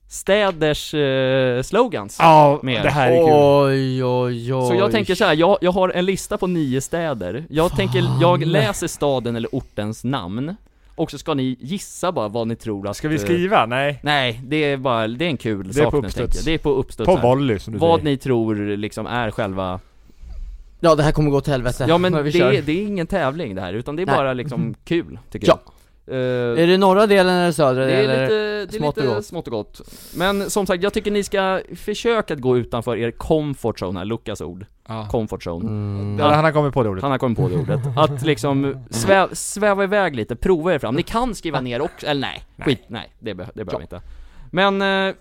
S2: städers eh, slogans.
S5: Ja,
S2: Mer.
S5: det här är kul.
S1: Oj, oj, oj.
S2: Så jag tänker så här, jag, jag har en lista på nio städer. Jag tänker, jag läser staden eller ortens namn. Och så ska ni gissa bara vad ni tror att...
S5: Ska vi
S2: eh,
S5: skriva? Nej.
S2: Nej, det är bara, det är en kul
S5: Det är
S2: sak
S5: på
S2: nu
S5: uppstuds.
S2: tänker jag. Det är på uppstuds
S5: På
S2: här.
S5: volley som du
S2: Vad
S5: säger.
S2: ni tror liksom är själva...
S1: Ja, det här kommer gå till helvete.
S2: Ja men
S1: när vi
S2: det
S1: kör.
S2: är, det är ingen tävling det här, utan det är
S1: Nej. Mm-hmm.
S2: bara liksom kul, tycker
S1: Ja.
S2: jag Eh,
S1: Är det norra delen eller södra
S2: det
S1: delen?
S2: är lite,
S1: eller?
S2: det är
S1: smått och
S2: lite
S1: gott.
S2: smått och gott Men som sagt, jag tycker ni ska försöka att gå utanför er comfort zone här, Lukas ord
S5: Ja.
S2: Comfort zone
S1: Mm.
S5: Ja, han har kommit på det ordet.
S2: Han har kommit på det ordet, att liksom sväv, sväva iväg lite, prova er fram, ni kan skriva ner också, eller nej, skit, nej, det, beh- det behöver vi inte Men, eh,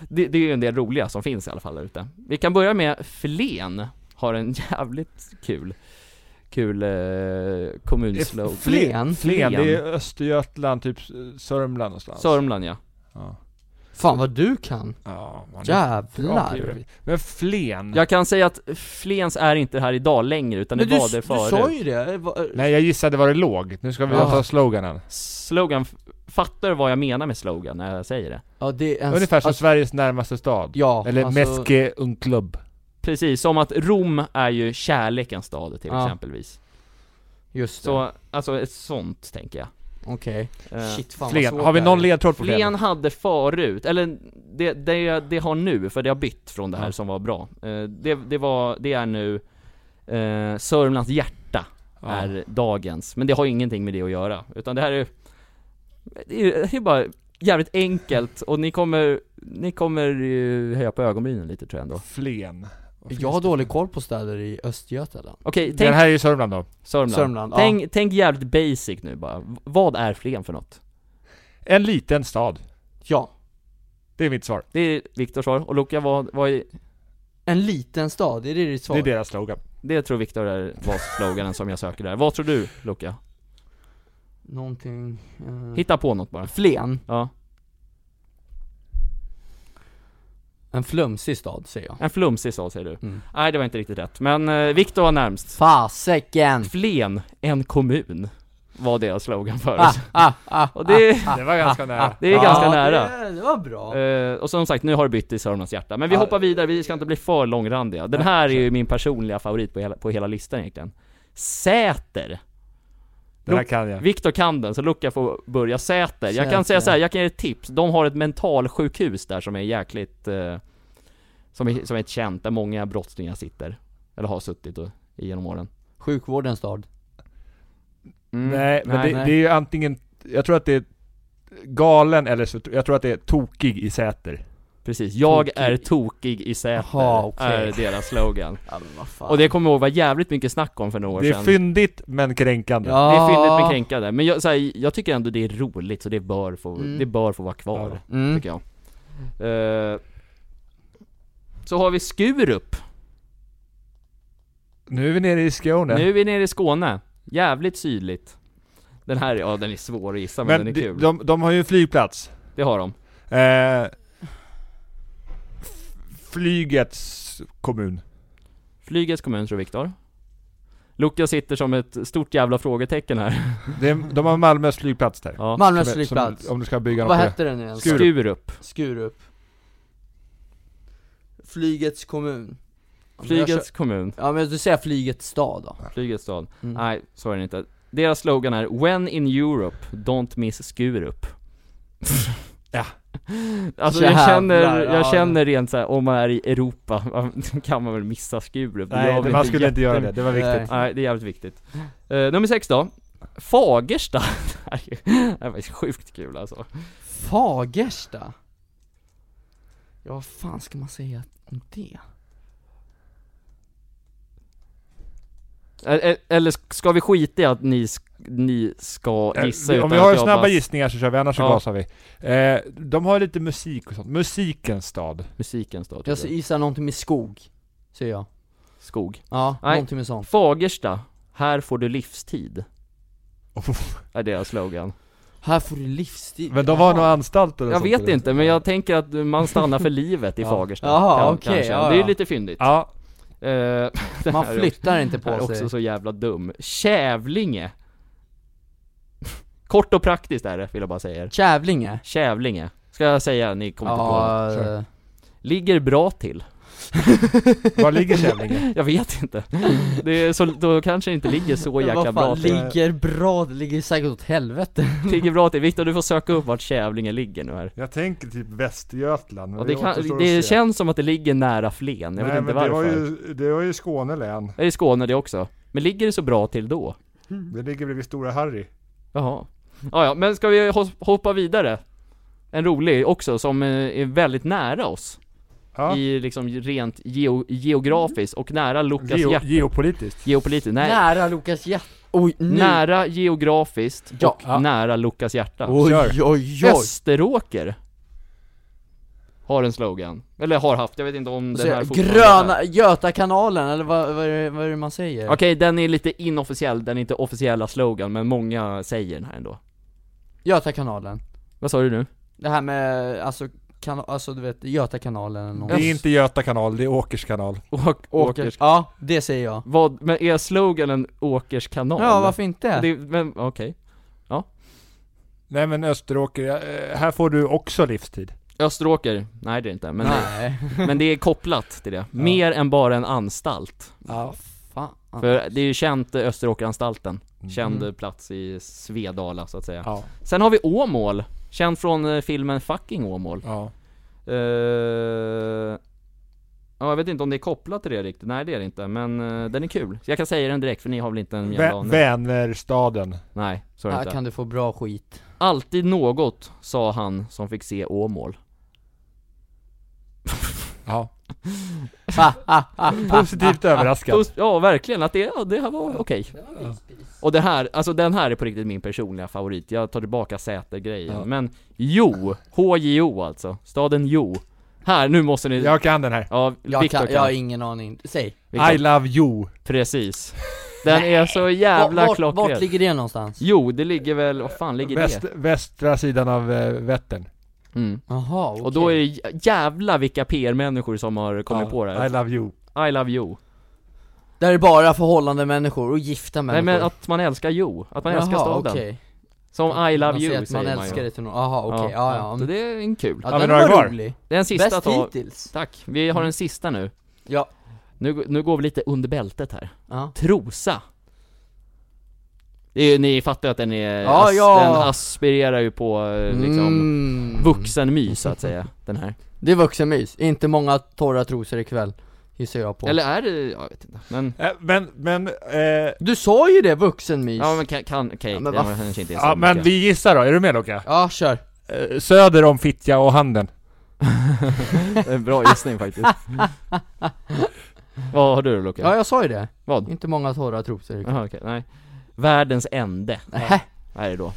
S2: det, det är ju en del roliga som finns i alla fall där ute Vi kan börja med Flen, har en jävligt kul, kul eh, kommunslogan
S1: Flen?
S5: Flen, det är
S2: Flen.
S5: Östergötland, typ Sörmland någonstans.
S1: alltså.
S2: Sörmland ja,
S5: Ja.
S1: Fan vad du kan.
S5: Ja, man är bra på
S1: Jävlar.
S5: geografi. Men Flen?
S2: jag kan säga att Flens är inte här idag längre utan det
S1: Mm. Men du,
S2: var
S1: s-
S2: det
S1: du
S2: förut
S1: sa ju det. Eh, va- eh,
S5: Nej, jag gissade var det låg. Nu ska vi
S1: Ja.
S5: ta sloganen.
S2: Slogan, fattar du vad jag menar med slogan när jag säger det?
S1: Ja, det är en...
S5: Ungefär som
S1: att-
S5: Sveriges närmaste stad.
S1: alltså- Ja,
S5: Eller
S1: alltså-
S5: Meske Unklubb.
S2: Precis, som att Rom är ju kärlekens stad till
S1: Ja.
S2: exempelvis
S1: Just det.
S2: Så, alltså ett sånt tänker jag
S1: Okej.
S2: Eh,
S1: Shit, fan vad
S5: Flen.
S1: svårt
S5: Har vi
S1: det
S5: någon
S1: här är.
S5: ledtråd på
S2: Flen
S5: Flen?
S2: hade förut, eller det, det, det har nu, för det har bytt från det här som var bra Eh, det, det var, det är nu eh, Sörmlands hjärta är dagens, men det har ju ingenting med det att göra, utan det här är Det är, det är bara jävligt enkelt och ni kommer, ni kommer eh, höja på ögonbrynen lite tror jag ändå
S5: Flen. Vad finns
S1: Jag har
S5: det?
S1: dålig koll på städer i Östergötland.
S2: Okej,
S5: Den
S2: tänk
S5: här är ju Sörmland då.
S2: Sörmland,
S1: Sörmland, ja.
S2: tänk, tänk jävligt basic nu bara, V- vad är Flen för något?
S5: En liten stad.
S1: Ja.
S5: Det är mitt svar.
S2: Det är Viktors svar, och Luca vad, vad är,
S1: En liten stad, är det ditt svar?
S5: Det är deras slogan.
S2: det tror Viktor är var sloganen som jag söker där. Vad tror du
S1: Mm.
S2: Luca?
S1: Någonting... eh,
S2: Hitta på något bara.
S1: Flen.
S2: Ja.
S1: En flumsig stad, säger jag.
S2: En flumsig stad säger du.
S1: Mm.
S2: Nej det var inte riktigt rätt, men eh, Viktor var närmst.
S1: Fasäcken!
S2: Flen, en kommun, var deras slogan förut.
S1: Ah, ah, ah,
S2: och det,
S5: Det var ganska nära.
S2: det är
S1: ah.
S2: ganska
S1: Ja,
S2: nära.
S1: Det, det var bra.
S2: Eh, och som sagt, nu har det bytt i Sörmlands hjärta. Men vi
S1: Ja.
S2: hoppar vidare, vi ska inte bli för långrandiga. Den här är ju min personliga favorit på hela, på hela listan egentligen. Säter!
S5: Den här kan jag.
S2: Viktor kan den, så Luca får börja Säter. Jag
S1: Säter.
S2: kan säga så här, jag kan ge ett tips. De har ett mentalsjukhus där som är jäkligt... Eh, som, är, som är ett känt, där många brottslingar sitter. Eller har suttit och, genom åren.
S1: Sjukvårdens stad.
S3: Mm.
S5: Nej, men
S2: nej,
S5: det,
S1: Mm. nej.
S5: det är ju antingen... Jag tror att det är galen eller så... Jag tror att det är tokig i Säter.
S2: Precis, jag
S1: Tokig.
S2: är tokig i Säter,
S1: Jaha, okej.
S2: är deras slogan.
S1: Ja men vad fan.
S2: Och det kommer jag ihåg var jävligt mycket snack om för några år
S5: Det är
S2: sedan.
S5: fyndigt men kränkande.
S1: ja.
S2: Det är fyndigt
S1: Ah.
S2: med kränkande, men jag, så här, jag tycker ändå det är roligt så det bör få,
S1: Mm.
S2: det bör få vara kvar,
S1: Mm.
S2: tycker jag Eh, Så har vi Skurup,
S5: Nu är vi nere i Skåne.
S2: nu är vi nere i Skåne, jävligt sydligt Den här, ja den är svår att gissa men,
S5: men
S2: den är kul,
S3: Eh,
S5: de, de, de har ju en flygplats.
S2: det har de
S5: Eh,
S3: Flygets kommun.
S2: Flygets kommun tror jag, Viktor. Lukas sitter som ett stort jävla frågetecken här.
S3: Det är, de har Malmös flygplats där.
S2: Ja.
S1: Malmös
S3: Som-
S1: flygplats.
S3: som- Om du ska bygga något
S1: Vad
S3: på det.
S1: hette den nu ens?
S3: Skurup.
S2: Skurup.
S1: Skurup. Flygets kommun. Ja, men jag
S2: Flygets kommun.
S1: kör- Ja men du säger flygets stad då.
S2: Flygets stad.
S1: Mm.
S2: Nej, så är det inte. Deras slogan är 'When in Europe, don't miss Skurup'
S3: Ja.
S2: Alltså jag
S1: Jävlar,
S2: känner, jag
S1: ja.
S2: känner rent såhär, om man är i Europa, då kan man väl missa Skurup? Det gör
S3: Nej, det,
S2: väl
S3: man skulle inte göra
S2: jätte-
S3: det. Det var viktigt.
S2: Nej, det är jävligt viktigt. Eh, nummer sex då. Fagersta. det här är ju- det här var ju sjukt kul alltså.
S1: Fagersta? Ja vad fan ska man säga om det?
S2: Eh, eh, Eller ska vi skita i att ni, sk- ni ska gissa
S3: Eh, Om
S2: utan
S3: vi har
S2: att jag
S3: snabba
S2: bara-
S3: gissningar så kör vi, annars så
S2: Ja.
S3: gasar vi. Eh, de har lite musik och sånt. Musikens stad.
S2: Musikens då, typ.
S1: Jag
S2: tycker jag.
S1: gissar någonting med skog, säger jag
S2: Skog.
S1: Ja,
S2: Nej.
S1: någonting med sånt
S2: Fagersta. Här får du livstid. Är deras slogan.
S1: Här får du livsstil
S3: Men de har nog anstalt eller
S2: Jag
S3: sånt,
S2: vet
S3: eller?
S2: inte, men jag tänker att man stannar för livet i
S3: Ja.
S2: Fagersta.
S1: Jaha,
S2: Kan-
S1: okej,
S2: kanske.
S1: ja,
S2: Det är ju
S1: ja.
S2: lite fyndigt.
S3: Ja,
S2: Eh, det
S1: Man
S2: här är
S1: flyttar inte
S2: är
S1: på sig
S2: också så jävla dum. Kävlinge. Kort och praktiskt är det, vill jag bara säga er.
S1: Kävlinge?
S2: Kävlinge. Ska jag säga, ni kommer inte på
S1: Ja,
S3: kör.
S1: eh,
S2: det. Ligger bra till.
S3: var ligger Kävlinge?
S2: Jag vet inte. Det är så, då kanske det inte ligger så jäkla
S1: vad
S2: bra
S1: fan,
S2: till.
S1: ligger bra, det ligger säkert åt helvete
S2: Ligger bra till. Viktor, du får söka upp vart Kävlinge ligger nu här.
S3: Jag tänker typ Västergötland. men
S2: Och det
S3: återstår
S2: kan,
S3: att
S2: det
S3: se.
S2: känns som att det ligger nära Flen, jag
S3: Nej,
S2: vet inte
S3: men det
S2: varför.
S3: var,
S2: Det,
S3: ju, det var ju Skåne län.
S2: är i Skåne det också. Men ligger det så bra till då?
S3: Det ligger bredvid Stora Harry.
S2: Jaha. Ja, ja, men ska vi hos- hoppa vidare? En rolig också, som eh, är väldigt nära oss.
S3: Ja.
S2: i liksom rent geo, geografiskt och nära Lukas
S3: Geo,
S2: hjärta.
S3: geopolitiskt.
S2: Geopolitiskt, nej.
S1: Nära Lukas hjärta Oj, nu!
S2: Nära geografiskt
S1: Ja.
S2: och nära Lukas hjärta.
S1: Oj,
S3: Kör.
S1: oj, oj!
S2: Österåker har en slogan. Eller har haft, jag vet inte om
S1: Så
S2: den här
S1: jag-
S2: fortfarande
S1: gröna
S2: är.
S1: Götakanalen, eller vad, vad, är det, vad är det man säger?
S2: Okej, den är lite inofficiell, den är inte officiella slogan, men många säger den här ändå.
S1: Götakanalen
S2: Vad sa du nu?
S1: Det här med, alltså, kan, alltså du vet, Götakanalen eller
S3: Det är
S1: något.
S3: inte Göta kanal, det är Åkers kanal.
S2: Åk,
S1: Åker,
S2: Åkers...
S1: ja det säger jag
S2: Vad, men är sloganen Åkers kanal?
S1: Ja varför inte?
S2: Det, men okej.
S3: Nej men Österåker, eh, här får du också livstid.
S2: Österåker? Nej det är inte, men
S1: Nej,
S2: Men det är kopplat till det. Mer än bara en anstalt.
S1: ja fan
S2: För det är ju känt eh, Österåkeranstalten. Känd
S1: Mm.
S2: eh, plats i Svedala så att säga.
S3: Ja.
S2: Sen har vi Åmål. Känd från eh, filmen 'Fucking Åmål'
S3: Ja.
S2: Eh, Ja, jag vet inte om det är kopplat till det riktigt. Nej det är det inte, men eh, den är kul. Så jag kan säga den direkt för ni har väl inte en jävla
S3: Vä-
S2: aning?
S3: Vänerstaden.
S2: Nej, så är det
S1: Här
S2: inte.
S1: kan du få bra skit
S2: Alltid något, sa han som fick se Åmål.
S3: Ja. Ah,
S1: ha, ha, ha, ha.
S3: Positivt överraskad.
S2: Post- Ja, verkligen. Att det, ja, det här var okej. Och det här, alltså den här är på riktigt min personliga favorit. Jag tar tillbaka Säter-grejen.
S3: Ja.
S2: Men Jo, HJO alltså. Staden Jo. Här, nu måste ni...
S3: Jag kan den här.
S2: ja,
S1: Jag,
S2: Viktor
S1: kan,
S2: kan.
S1: jag har ingen aning, säg
S2: Viktor.
S3: I love you.
S2: Precis. Den är så jävla
S1: vart, vart,
S2: klockren.
S1: vart ligger det någonstans?
S2: Jo, det ligger väl, vad fan ligger
S3: Väst,
S2: det?
S3: västra sidan av eh, Vättern.
S2: Mm.
S1: Jaha okej
S2: Och då är det jä- jävla vilka PR-människor som har kommit
S3: Ja,
S2: på det
S3: I
S2: här.
S3: love you.
S2: I love you.
S1: Där är bara förhållande människor och gifta
S2: Nej
S1: människor
S2: men att man älskar Jo, att man älskar
S1: Jaha,
S2: staden.
S1: okej.
S2: Som I love
S1: man
S2: you
S1: säger att man
S2: säger man
S1: älskar
S2: ju.
S1: det till någon, jaha okej, ja ja,
S2: Så
S1: mm.
S2: det är en kul.
S1: ja
S3: Ja,
S1: den
S3: men då är
S1: var
S3: det var.
S1: rolig
S2: Den sista
S1: Bäst
S2: tar...
S1: hittills
S2: Tack, vi har en sista nu.
S1: Ja,
S2: Nu, nu går vi lite under bältet här.
S1: ja
S2: Trosa. Det är, ju- ni fattar att den är,
S1: Ja, ja.
S2: den aspirerar ju på eh, liksom
S1: Mm.
S2: vuxenmys så att säga, den här.
S1: Det är vuxenmys, inte många torra trosor ikväll Gissar jag på
S2: Eller är det, jag vet inte, men,
S3: Eh, Men, men, eh,
S1: Du sa ju det, vuxenmys!
S2: ja men kan, kan, kan
S1: Ja, men
S2: men
S1: vad
S2: det kanske inte är så
S3: ja, men
S2: mycket.
S3: vi gissar då. Är du med Luka?
S1: Ja, kör!
S3: Eh, söder om Fittja och Handen.
S2: Det är en Eh, bra gissning faktiskt. Vad har du Lukas?
S1: Ja, jag sa ju det,
S2: Vad?
S1: inte många torra trosor ikväll
S2: Jaha okej, nej. Världens ände,
S1: Nähä,
S2: vad är det då?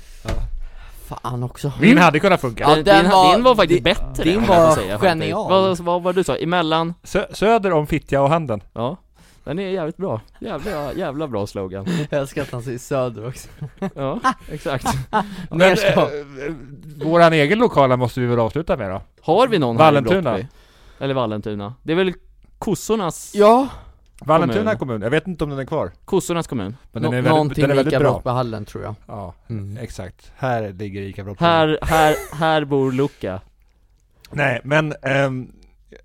S1: fan också
S3: Min hade kunnat funka.
S1: Ja,
S2: din,
S1: den
S2: din,
S1: var-
S2: din var
S1: din-
S2: faktiskt bättre
S1: din
S2: än vad jag
S1: var
S2: får säga, faktiskt.
S1: genial.
S2: Vad, vad var det du sa? Emellan?
S3: Sö- söder om Fittja och Handen.
S2: Ja, den är jävligt bra. Jävla, jävla bra slogan.
S1: Jag älskar att han säger söder också
S2: Ja, exakt.
S3: Men,
S1: ska-
S3: eh, eh, våran egen lokala måste vi väl avsluta med då?
S2: Har vi någon här i
S3: Vallentuna.
S2: Brottby? Eller Vallentuna. Det är väl kossornas,
S1: Ja,
S3: Vallentuna
S2: Kommun.
S3: kommun, jag vet inte om den är kvar.
S2: kossornas kommun.
S3: Men
S1: nå-
S3: den är väldigt,
S1: någonting
S3: den är väldigt
S1: lika
S3: bra.
S1: bra med hallen tror jag
S3: Ja,
S1: Mm.
S3: exakt. Här ligger ICA Brottby.
S2: Här, här, här bor Luca.
S3: Nej, men ehm,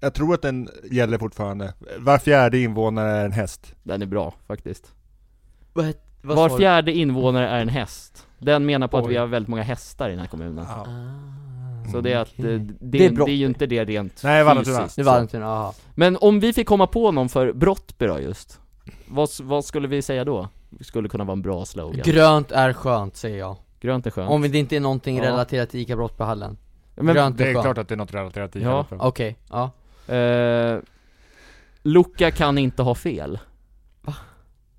S3: jag tror att den gäller fortfarande. Var fjärde invånare är en häst.
S2: Den är bra faktiskt.
S1: Vad het- vad sa
S2: Var
S1: du?
S2: fjärde invånare är en häst. Den menar på att
S3: Oj.
S2: vi har väldigt många hästar i den här kommunen.
S1: Ah.
S2: Så det är att, eh,
S1: Okej.
S2: det,
S1: Det
S2: det,
S1: är
S2: är
S1: Brottby.
S2: ju inte det rent
S3: Nej, Vallentuna.
S2: fysiskt.
S1: Det
S2: så.
S1: var Vallentuna, aha.
S2: Men om vi fick komma på någon för Brottby då just, vad, s- vad skulle vi säga då? Det skulle kunna vara en bra slogan.
S1: Grönt är skönt säger jag
S2: Grönt är skönt.
S1: Om det inte är någonting
S2: Ja.
S1: relaterat till ICA Brottbyhallen
S2: Ja, men,
S1: Grönt
S3: Det
S1: är
S3: är
S1: skönt,
S3: klart att det är något relaterat till ICA
S2: Ja.
S3: Brottby.
S1: okej, ja
S2: eh, Luca kan inte ha fel.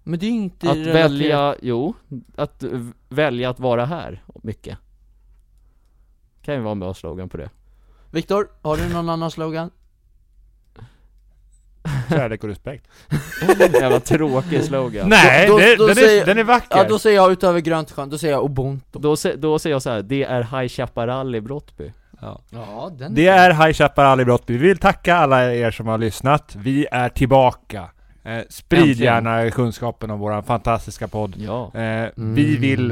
S1: Men det är ju inte
S2: att
S1: relaterat-
S2: välja, jo, att v- välja att vara här, mycket. Kan ju vara en bra slogan på det.
S1: Viktor, har du någon annan slogan?
S3: Kärlek och respekt. Oh,
S2: Jävla tråkig slogan.
S3: Nej,
S1: Då- då-
S3: det,
S1: då
S3: den,
S1: säger-
S3: är, den är vacker!
S1: Ja då säger jag utöver grönt skönt, då säger jag ubuntu
S2: Då, se, då säger jag så här: det är High Chaparral i Brottby.
S1: Ja den
S3: Det är High Chaparral i Brottby. Vi vill tacka alla er som har lyssnat. Vi är tillbaka. Eh, sprid
S2: Äntligen.
S3: gärna kunskapen om våran fantastiska podd.
S2: Ja.
S3: Eh,
S1: Mm.
S3: Vi vill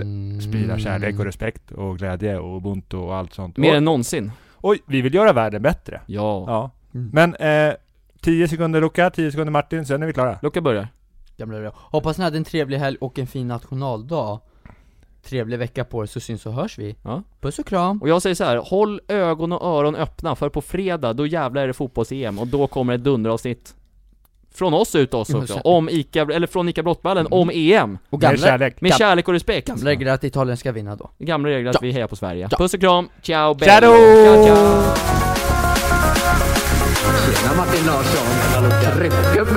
S3: sprida kärlek och respekt och glädje och ubuntu och allt sånt.
S2: Mm. Mer
S3: och,
S2: än någonsin.
S3: och vi vill göra världen bättre.
S2: Ja.
S3: Ja.
S1: Mm.
S3: Men eh, 10 sekunder Luca, 10 sekunder Martin, sen är vi klara.
S2: Luca börjar.
S1: Det blir bra. Hoppas ni hade en trevlig helg och en fin nationaldag Trevlig vecka på er så syns och hörs vi
S2: Ja.
S1: Puss och kram
S2: Och jag säger så här: håll ögon och öron öppna, för på fredag, då jävlar är det fotbolls-EM, och då kommer ett dunderavsnitt från oss ut oss
S1: Ja,
S2: också,
S1: säkert.
S2: om ICA, eller från ICA Brottballen, om EM.
S1: Och
S3: Mer
S1: gamla,
S3: kärlek.
S2: Med
S1: Gam-
S2: kärlek och respekt.
S1: gamla regler att Italien ska vinna då
S2: Gamla regler
S1: Ja.
S2: att vi hejar på Sverige.
S1: Ja.
S2: Puss och kram, ciao bello.
S3: Ciao!
S2: Ciao, ciao.
S7: Tjena Martin Larsson, hallå tryckgubbe!